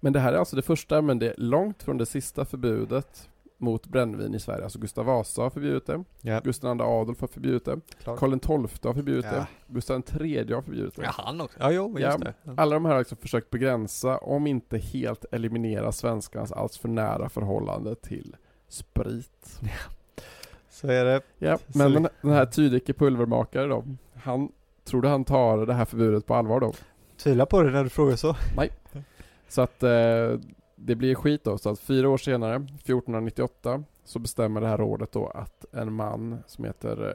Men det här är alltså det första, men det är långt från det sista förbudet mot brännvin i Sverige. Alltså Gustav Vasa har förbjudit det.
Ja.
Gustav II Adolf har förbjudit det.
Klart.
Karl XII har förbjudit
Ja.
det. Gustav III har förbjudit det.
Ja, han också. Ja, jo, just
Ja.
det. Ja.
Alla de här har liksom försökt begränsa, om inte helt eliminera svenskarnas alls för nära förhållande till sprit.
Så är det.
Ja,
Så-
men den, den här Tydike pulvermakare då, han trodde han tar det här förbudet på allvar då.
Tvivla på det när du frågar så.
Så att eh, det blir skit då. Så att fyra år senare, 1498, så bestämmer det här rådet då att en man som heter, eh,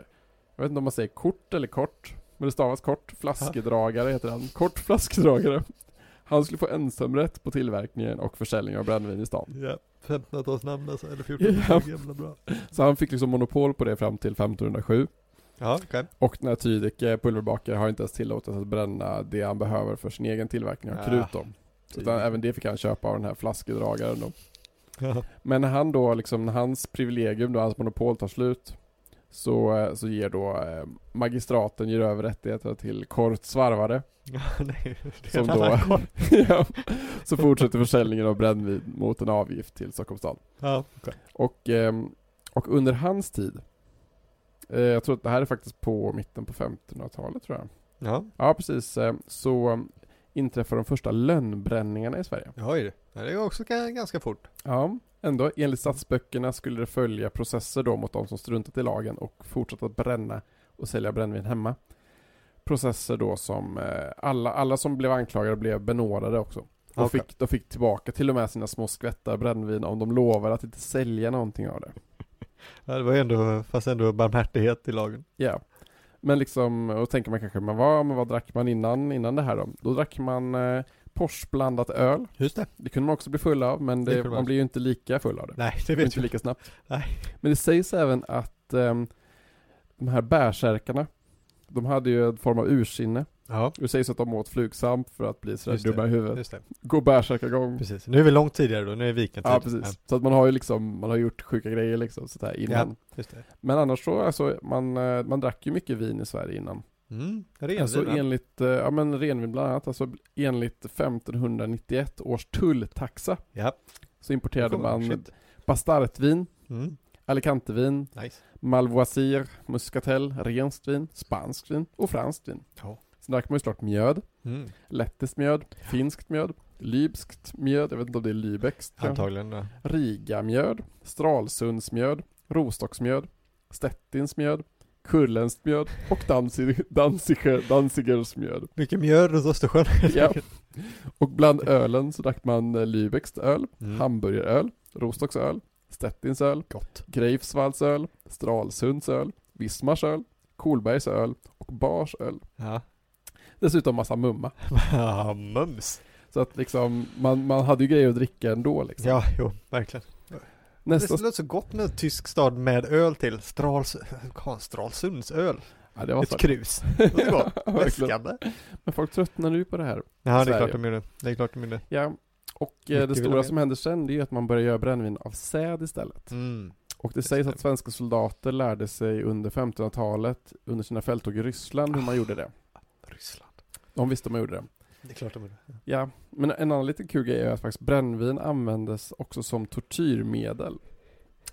jag vet inte om man säger kort eller kort, men det stavas kort, flaskedragare heter han. Kort flaskedragare. Han skulle få ensamrätt på tillverkningen och försäljning av brännvin i stan.
Ja. 1500-talsnamn alltså, eller
1400-talsnamn,
gamla bra.
Så han fick liksom monopol på det fram till 1507.
Ja, okej.
Och den här Tydike, pulverbakare, har inte ens tillåtits att bränna det han behöver för sin egen tillverkning av
Ah,
krut då. Utan
Tydike.
även det fick han köpa av den här flaskedragaren då.
Ja. (laughs)
Men när han då, liksom, när hans privilegium, då, hans monopol tar slut, så, eh, så ger då eh, magistraten ger över rättigheterna till kortsvarvare.
Nej, det är
Som
en
då-
annan (laughs) korv.
(laughs) Ja. så fortsätter försäljningen av brännvin mot en avgift till Stockholms stad.
Ja, okej.
Och, ehm, och under hans tid, eh, jag tror att det här är faktiskt på mitten på 1500-talet tror jag.
ja.
Ja, precis. eh, Så eh, inträffar de första lönnbränningarna i Sverige.
Oj, ja, det går också ga- ganska fort.
Ja, ändå. Enligt statsböckerna skulle det följa processer då mot de som struntat i lagen och fortsatt att bränna och sälja brännvin hemma. Processer då som eh, alla, alla som blev anklagade blev benådade också. De,
Okej.
fick, de fick tillbaka till och med sina små skvättar brännvin om de lovade att inte sälja någonting av det.
Ja, det var ju ändå, fast ändå barmhärtighet i lagen.
Ja. Men liksom, och tänker man kanske, men vad, men vad drack man innan, innan det här då? Då drack man eh, Porsblandat öl.
Just det.
Det kunde man också bli full av, men
Det
det,
kunde man.
man blir ju inte lika full av det.
Nej, det
Och
vet
inte
jag.
lika snabbt.
(laughs) Nej.
Men det sägs även att ehm, de här bärsärkarna, de hade ju en form av ursinne.
Ja,
Det sägs att de åt flugsvamp för att bli sådär
Just det.
dumma i huvudet.
just det.
Gå bärsärkagång.
Precis. Nu är vi långt tidigare då, nu är viken
Ja, precis. Så att man har ju liksom, man har gjort sjuka grejer liksom sådär innan.
Just det.
Men annars så, alltså, man, eh, man drack ju mycket vin i Sverige innan.
Mm, renvin,
Alltså
va?
enligt, eh, ja men renvin bland annat, alltså enligt 1591 års tulltaxa
Ja.
så importerade
Kommer,
man
shit.
bastartvin,
Mm,
alicantevin,
nice.
malvoisier, muscatel, renskt vin, spanskt vin och franskt vin.
Ja.
Sen drack man ju såklart mjöd,
Mm,
lettiskt mjöd, finskt mjöd, lybskt mjöd, jag vet inte om det är lybäcks,
antagligen. då.
rigamjöd, stralsundsmjöd, rostocksmjöd, stettinsmjöd, kurländskt mjöd och Danzig- Danziger- danzigers mjöd.
Mycket mjöl runt Östersjön.
Ja.
Mm.
Och bland ölen så drack man eh, Lübecks öl,
Mm.
Hamburgeröl, Rostocks öl, Stettins öl,
Gott.
Greifswalds öl, Stralsunds öl, Vismars öl, Kolbergs öl och Bars öl.
(laughs) Ja.
Dessutom massa mumma.
Ah, mums.
Så att liksom, man, man hade ju grejer att dricka ändå liksom.
Ja, jo, verkligen.
Nästa,
Det låter så gott med en tysk stad med öl till. Strals, Fan, Stralsunds öl.
ja, det var så.
Ett krus. Det låter gott.
(laughs) Ja, verkligen.
Läskande.
Men folk tröttnade ju på det här.
Ja, det är
Sverige.
klart de gjorde. Det är klart de gjorde.
Ja. Och eh,
Mycket
det
vill
stora
de
som händer sen, det är ju att man börjar göra brännvin av säd istället.
Mm.
Och det sägs
det.
att svenska soldater lärde sig under 1500-talet, under sina fälttåg i Ryssland, hur man gjorde det.
Ryssland.
De visste man gjorde det.
Det är klart de gjorde.
Ja, men en annan liten kul grej är att faktiskt brännvin användes också som tortyrmedel.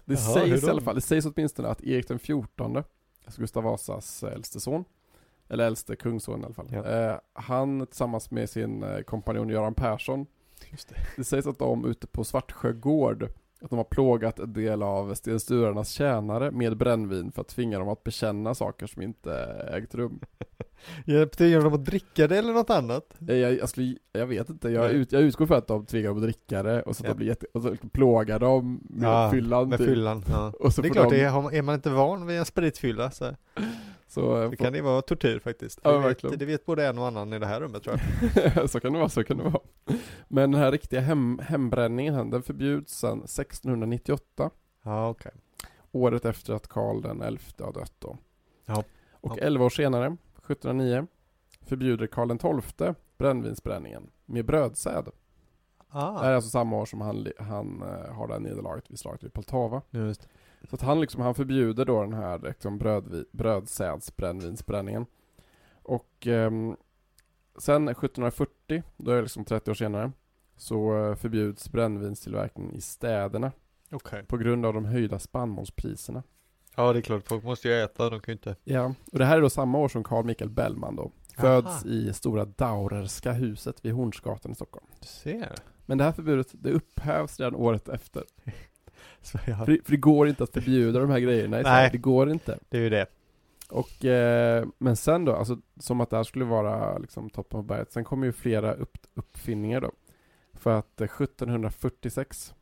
Det
Jaha, hur
sägs
då?
i alla fall, det sägs åtminstone att Erik den XIV, alltså Gustav Vasas eh, äldste son, eller äldste kungsson i alla fall,
Ja.
eh, han tillsammans med sin eh, kompanjon Göran Persson,
Just det.
det sägs att de ute på Svartsjö gård, att de har plågat en del av Sten Sturarnas tjänare med brännvin för att tvinga dem att bekänna saker som inte eh, ägt rum.
Hjälpte genom att dricka det eller något annat?
Jag, Eh, jag, jag, skulle, jag vet inte, jag,
Nej.
ut, jag utgår för att de tvingar dem att dricka det och så att
Ja.
de blir jätte, och så plågar dem med
Ja,
fyllan.
Med
typ.
fyllan. Ja.
Och så
Det är
får
klart,
de,
det är, har man- är man inte van vid en spritfylla så,
Så, eh,
så kan det vara tortyr faktiskt.
Ja,
det,
verkligen.
vet, det vet både en och annan i det här rummet tror jag.
(laughs) så kan det vara, så kan det vara. Men den här riktiga hem, hembränningen, den förbjuds sedan 1698.
(laughs) Ja, okej.
året efter att Karl den XI har dött då.
Ja.
Och
Ja.
11 år senare, 1709, förbjuder Karl den XII brännvinsbränningen med brödsäd. Det här
Ah,
är alltså samma år som han, li- han eh, har det här nederlaget vid slaget vid Poltava.
just det.
Så att han, liksom, han förbjuder då den här liksom, brödvi, brödsädsbrännvinsbränningen. Och ehm, sen 1740, då är det liksom 30 år senare, så eh, förbjuds brännvinstillverkning i städerna
Okej.
på grund av de höjda spannmålspriserna.
Ja, det är klart. Folk måste ju äta. De kan ju inte.
Ja, och det här är då samma år som Carl Michael Bellman då. Föds i Stora Daurerska huset vid Hornsgatan i Stockholm.
Du ser.
Men det här förbudet, det upphävs redan året efter.
Så ja,
För, för det går inte att förbjuda de här grejerna i
Nej.
Sverige, det går inte.
det är ju det.
Och, eh, men sen då, alltså som att det här skulle vara liksom toppen av berget. Sen kommer ju flera upp, uppfinningar då. För att eh, 1746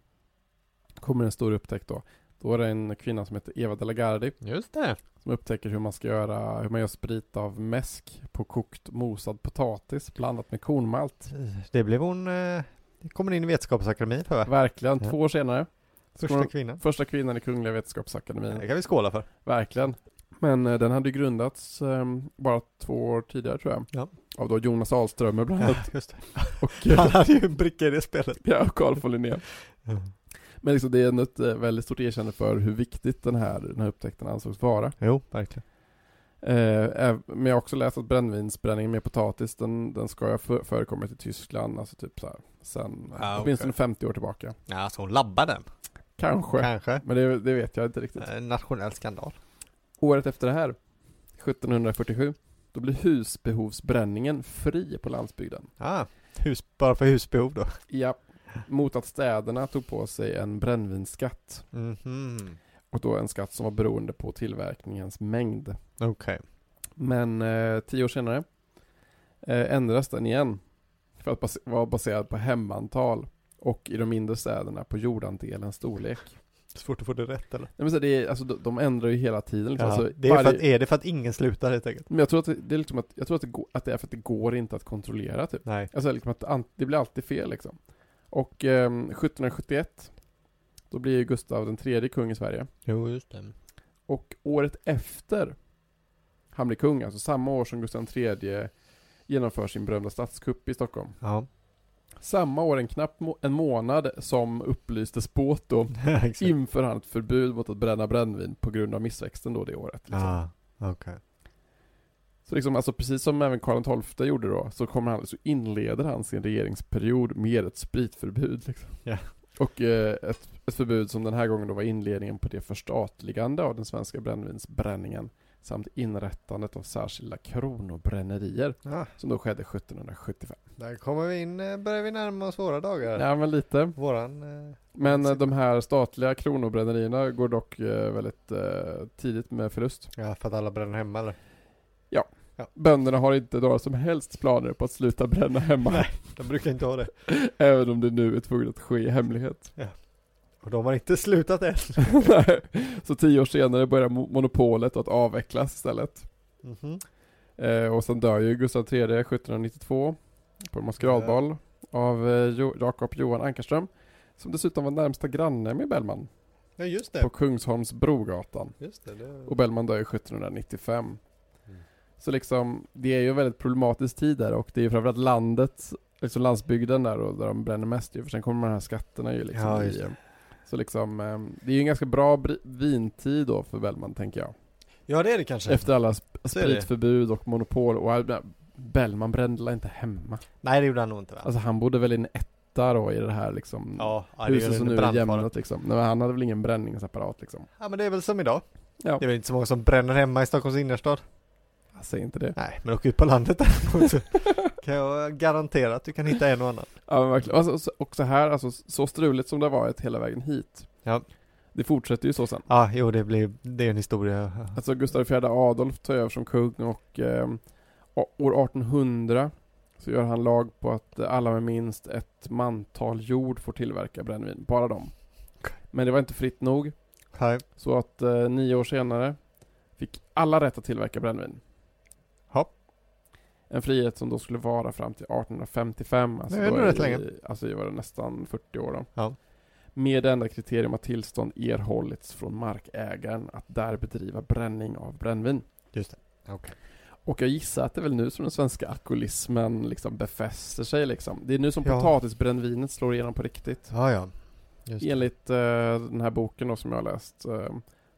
kommer en stor upptäckt då. Då är det en kvinna som heter Eva De la Gardie
Just det.
Som upptäcker hur man ska göra, hur man gör sprit av mäsk på kokt mosad potatis blandat med kornmalt.
Det blev hon. Eh, det kommer in i Vetenskapsakademin för va?
Verkligen,
Ah. Ja.
två år senare.
Första kvinnan.
Första kvinnan i Kungliga Vetenskapsakademin.
Det kan vi skåla för.
Verkligen. Men eh, den hade ju grundats eh, bara två år tidigare tror jag.
Ja.
Av då Jonas
(laughs)
Ahlströmer bland annat.
Ja, just det.
Och, eh,
Han hade ju en bricka i det spelet.
ja, och Carl von Linné. Men liksom, det är ändå ett eh, väldigt stort erkännande för hur viktigt den här, den här upptäckten ansågs vara.
Jo, verkligen.
Eh, äv- men jag har också läst att brännvinsbränningen med potatis, den, den ska ha fö- förekommit i Tyskland, alltså typ så här, sen
Ah,
åtminstone
okej.
50 år tillbaka.
Ja, alltså hon labbar den.
Kanske,
Kanske.
men det, det vet jag inte riktigt.
Eh, Nationell skandal.
Året efter det här, 1747, då blir husbehovsbränningen fri på landsbygden.
Ah,
Hus, bara för husbehov då.
Ja, mot att städerna tog på sig en brännvinsskatt.
mhm.
Och då en skatt som var beroende på tillverkningens mängd.
Okej.
Men eh, tio år senare eh, ändras den igen. För att bas- vara baserad på hemantal. Och i de mindre städerna på jordandelens storlek.
Svårt att få det rätt eller?
Nej, men så det är, alltså, de, de ändrar ju hela tiden. Liksom.
Ja,
Alltså,
det är, för
varje-
att, är det för att ingen slutar helt enkelt?
Men jag tror att det, det är liksom att, jag tror att det, går, att det är för att det går inte att kontrollera typ.
Nej.
Alltså liksom att an- det blir alltid fel liksom. Och ehm, 1771 då blir ju Gustav den tredje kung i Sverige.
Jo, just det.
Och året efter han blir kung, alltså samma år som Gustav den tredje genomför sin berömda statskupp i Stockholm.
Ja.
Samma år, en knapp må- en månad, som upplystes båt då,
Exakt.
inför han ett förbud mot att bränna brännvin på grund av missväxten då det året. Liksom.
Ah, okej.
Så liksom, alltså precis som även Karl XII gjorde då, så, kommer han, så inleder han sin regeringsperiod med ett spritförbud. Liksom.
Ja.
Och eh, ett, ett förbud som den här gången då var inledningen på det förstatligande av den svenska brännvinsbränningen samt inrättandet av särskilda kronobrännerier
Ah,
som då skedde 1775.
där kommer vi in, eh, börjar vi närma oss våra dagar.
Ja, men lite.
Våran... Eh,
Men eh, de här statliga kronobrännierna går dock eh, väldigt eh, tidigt med förlust.
ja, för att alla bränner hemma eller?
Bönderna har inte några som helst planer på att sluta bränna hemma.
Nej. De brukar inte ha det.
(laughs) Även om det nu är tvunget att ske i hemlighet.
Och de har inte slutat än.
(laughs) så tio år senare börjar mo- monopolet att avvecklas istället.
Mhm.
Eh, och sen dör ju Gustav III 1792 på en maskeradbal av eh, jo- Jakob Johan Ankerström. Som dessutom var närmsta granne med Bellman
Ja, just
på
det.
Kungsholmsbrogatan.
Just det. det...
Och Bellman dör ju 1795.
Mm.
Så liksom, det är ju en väldigt problematisk tid där och det är ju framförallt landet, liksom landsbygden där och där de bränner mest ju, för sen kommer de här skatterna ju liksom.
Ja, just
i, så liksom, eh, det är ju en ganska bra br- vintid då för Bellman tänker jag.
Ja, det är det kanske.
Efter alla sp-
Mm. Så är det.
spritförbud och monopol och all- Bellman brände väl inte hemma.
Nej, det gjorde han nog inte va?
Alltså han bodde väl i en etta då i det här liksom
ja, ja, det
huset
är ju
som nu
en
är
brandfara.
jämnat liksom. Nej, men han hade väl ingen bränningsapparat liksom.
Ja, men det är väl som idag.
Ja,
Det är väl inte så många som bränner hemma i Stockholms innerstad.
jag säger inte det.
Nej, men åk ut på landet däremot
(laughs)
så kan jag garantera att du kan hitta en och annan.
Ja men verkligen. Alltså, så- och så här, alltså, så struligt som det har varit hela vägen hit.
Ja.
Det fortsätter ju så sen.
Ja, jo det blir, det är en historia.
Alltså Gustav IV Adolf tar över som kung och eh, å- år 1800 så gör han lag på att eh, alla med minst ett mantal jord får tillverka brännvin. Bara dem.
Okej.
Men det var inte fritt nog.
Nej.
Så att eh, nio år senare fick alla rätt att tillverka brännvin.
Ja.
En frihet som då skulle vara fram till 1855. Alltså
Det är
då
ändå rätt
i-
länge.
Alltså det var det nästan 40 år då.
Ja.
Med det enda kriterium att tillstånd erhållits från markägaren att där bedriva bränning av brännvin.
Just det. Okej.
Och jag gissar att det är väl nu som den svenska alkoholismen liksom befäster sig liksom. Det är nu som
Ja.
potatisbrännvinet slår igenom på riktigt.
Ja, ja. Just det.
Enligt eh, den här boken då som jag har läst. Eh,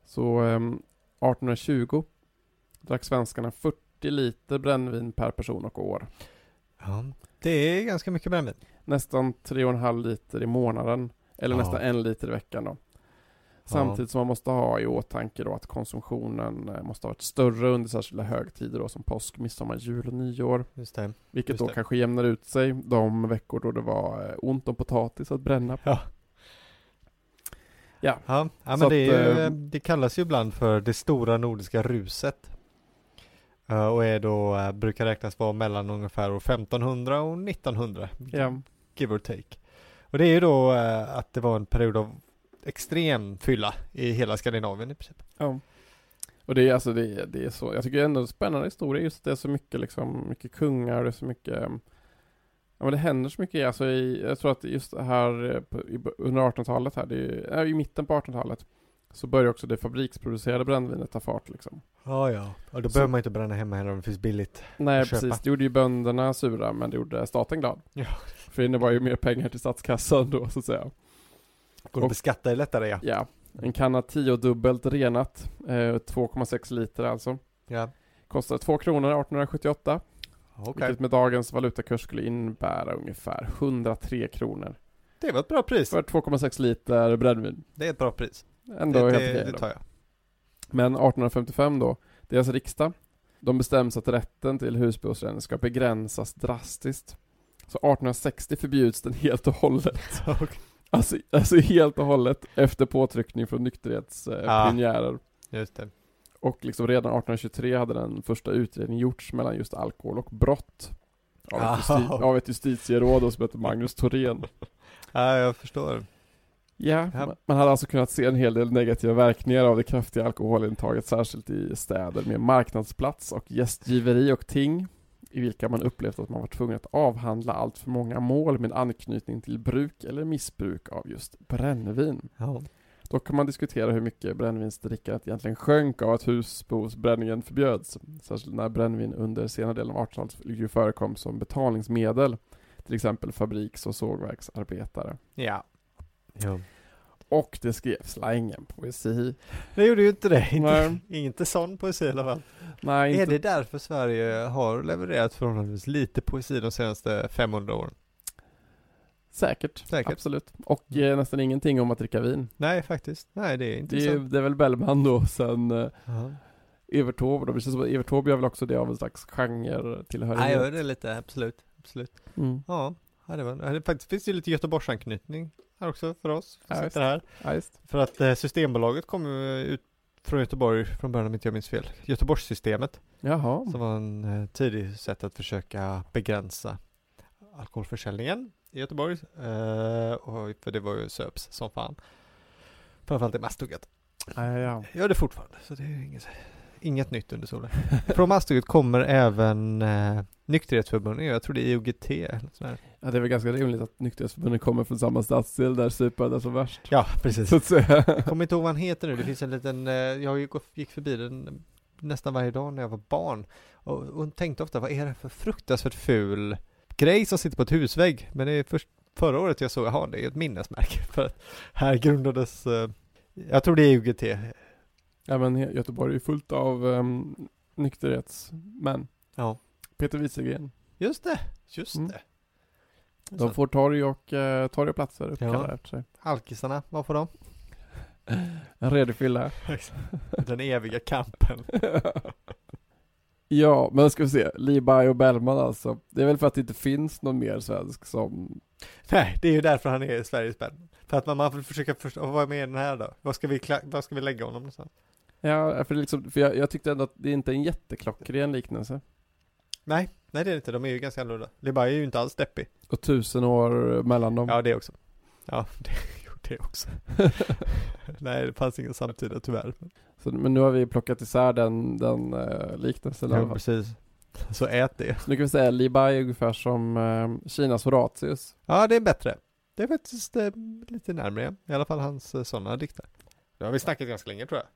så eh, 1820 drack svenskarna 40 liter brännvin per person och år.
Ja. Det är ganska mycket brännvin.
Nästan 3,5 liter i månaden. Eller
Ja.
nästan en liter i veckan då. Samtidigt som man måste ha i åtanke då att konsumtionen eh, måste ha varit större under särskilda högtider då som påsk, midsommar, jul och nyår.
Just det.
Vilket
Just
då
det.
kanske jämnar ut sig de veckor då det var eh, ont om potatis att bränna.
Ja.
Ja.
Ja, ja men
Så
det,
att,
är ju,
eh,
det kallas ju ibland för det stora nordiska ruset. Eh, Och är då, eh, brukar räknas vara mellan ungefär år 1500 och 1900.
Ja.
give or take. Och det är ju då eh, att det var en period av extrem fylla i hela Skandinavien i princip.
ja. Och det är alltså det är, det är så, jag tycker det är ändå en spännande historia just det är så mycket liksom, mycket kungar och det är så mycket eh, Ja men det händer så mycket, alltså i, jag tror att just det här eh, på- i b- under 1800-talet här, det är, eh, i mitten på 1800-talet så börjar också det fabriksproducerade brännvinet ta fart liksom.
Ja, ja. Och då
Så-
behöver man inte bränna hemma heller om det finns billigt.
Nej
Köpa.
precis, det gjorde ju bönderna sura men det gjorde staten glad.
Ja.
För det innebar ju mer pengar till statskassan då så att säga.
Går att
Och-
beskatta det lättare ja.
Ja, en kanna 10-dubbelt renat. Eh, 2,6 liter alltså.
Ja.
Kostar 2 kronor 1878.
Okej,
Vilket med dagens valutakurs skulle innebära ungefär 103 kronor.
det var ett bra pris.
För 2,6 liter brännvin.
Det är ett bra pris.
Ändå
Det,
helt
det,
okej
det
då.
tar (laughs) jag.
Men 1855 då, deras riksdag, de bestäms att rätten till husbehovsränning ska begränsas drastiskt. Så 1860 förbjuds den helt och hållet. Alltså, alltså helt och hållet efter påtryckning från
Ja.
nykterhetspionjärer.
Just det.
Och liksom redan 1823 hade den första utredningen gjorts mellan just alkohol och brott. Av ett, justi-
Ah.
av ett justitieråd och som hette Magnus Thorén.
Ja, jag förstår.
Ja,
Ja.
man- man hade alltså kunnat se en hel del negativa verkningar av det kraftiga alkoholintaget, särskilt i städer med marknadsplats och gästgiveri och ting, i vilka man upplevt att man var tvungen att avhandla allt för många mål med anknytning till bruk eller missbruk av just brännvin.
Ja.
Då kan man diskutera hur mycket brännvinsdrickandet egentligen sjönk av att husbehovsbränningen förbjöds, särskilt när brännvin under senare delen av 1800-talet ju förekom som betalningsmedel, till exempel fabriks och sågverksarbetare.
ja. Jo.
Och det skrevs la ingen poesi.
Det gjorde ju inte det.
Nej.
Inte, inte sån poesi i alla fall.
Nej,
Är
inte,
det därför Sverige har levererat förhållandevis lite poesi de senaste 500 åren?
Säkert.
Säkert. Mm.
Absolut. Och eh, nästan ingenting om att dricka vin.
Nej, faktiskt. Nej, det är inte
Det är,
sant.
det är väl Bellman då, sen eh,
Ja.
Evert Taube då. Det känns som att Evert Taube gör väl också det av en slags
Nej, jag
genre-tillhörighet.
hör det lite. Absolut. Absolut.
Mm.
Ja, ja, det, var, ja, det faktiskt finns ju lite Göteborgsanknytning här också för oss. som
Ja,
sitter
visst.
här.
Ja, just.
För att eh, Systembolaget kom ju ut från Göteborg från början om inte jag minns fel. Göteborgssystemet
Jaha.
som var en eh, tidig sätt att försöka begränsa alkoholförsäljningen i Göteborg. Eh, och, för det var ju söps som fan. Framförallt i Masthugget.
Ja, ja, ja.
Gör det fortfarande, så det är inget, inget nytt under (laughs) solen. Från Masthugget kommer även eh, Nykterhetsförbundet, jag tror det är IOGT eller något sånt där.
ja, det är väl ganska rimligt att Nykterhetsförbundet kommer från samma stadsdel där supandet är som
(laughs)
värst.
Ja, precis.
Så att säga.
Kommer inte ihåg vad han heter nu, det finns en liten, eh, jag gick, gick förbi den nästan varje dag när jag var barn och, och tänkte ofta vad är det för fruktansvärt ful grej som sitter på ett husvägg? Men det är först förra året jag såg, jaha det är ett minnesmärke (laughs) för att här grundades, eh, jag tror det är UGT.
Ja, men He- Göteborg är ju fullt av um, nykterhetsmän.
Ja.
Peter Wieselgren.
Just det, just
Mm.
det.
De får torg och, uh, torg och platser uppkallade efter sig.
Alkisarna, vad får de?
En redig fylla.
(laughs)
(laughs)
Den eviga kampen.
(laughs) Ja, men ska vi se. Libai och Bellman alltså. Det är väl för att det inte finns någon mer svensk som...
(laughs) Nej, det är ju därför han är Sveriges bädd. För att man, man får försöka förstå, vad är med i den här då? Vad ska vi, kla- vad ska vi lägga honom någonstans?
Ja, för, det är liksom, för jag, jag tyckte ändå att det inte är en jätteklockren liknelse.
Nej, nej det är det inte, de är ju ganska annorlunda. Libai är ju inte alls deppig.
Och tusen år mellan dem.
Ja, det också. Ja, (laughs) det, jo, det (laughs) också. Nej, det fanns ingen samtida tyvärr.
Så, men nu har vi plockat isär den, den eh, liknelsen i alla fall.
precis. Så ät det.
Nu kan vi säga Libai är ungefär som eh, Kinas Horatius.
Ja, det är bättre. Det är faktiskt eh, lite närmare, i alla fall hans eh, sådana dikter. Nu har vi snackat ganska länge tror jag.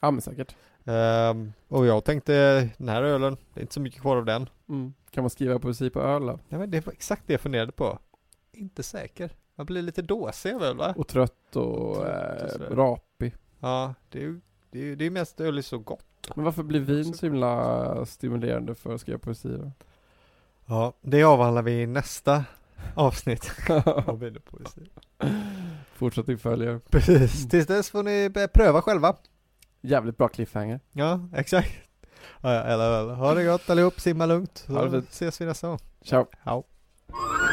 Ja, men säkert.
Ehm, och jag tänkte, den här ölen, det är inte så mycket kvar av den.
Mm. Kan man skriva poesi på öl då?
Ja, men det var exakt det jag funderade på. Inte säker. Man blir lite dåsig av öl va?
Och (laughs) trött och
Trött
eh,
och så.
rapig.
Ja, det är ju det är, ju- det är mest öl är så gott.
Men varför blir vin så himla stimulerande för att skriva poesi (laughs) då?
Ja, det avhandlar vi i nästa avsnitt av Vinpoesi.
Fortsättning följer.
Precis, tills dess får ni börja pröva själva.
Jävligt bra cliffhanger.
Ja, exakt. Ja, ja, eller, eller. Ha det gott allihop, simma lugnt.
Ha
Så
det fint.
ses vi nästa gång.
Ciao.
Ciao.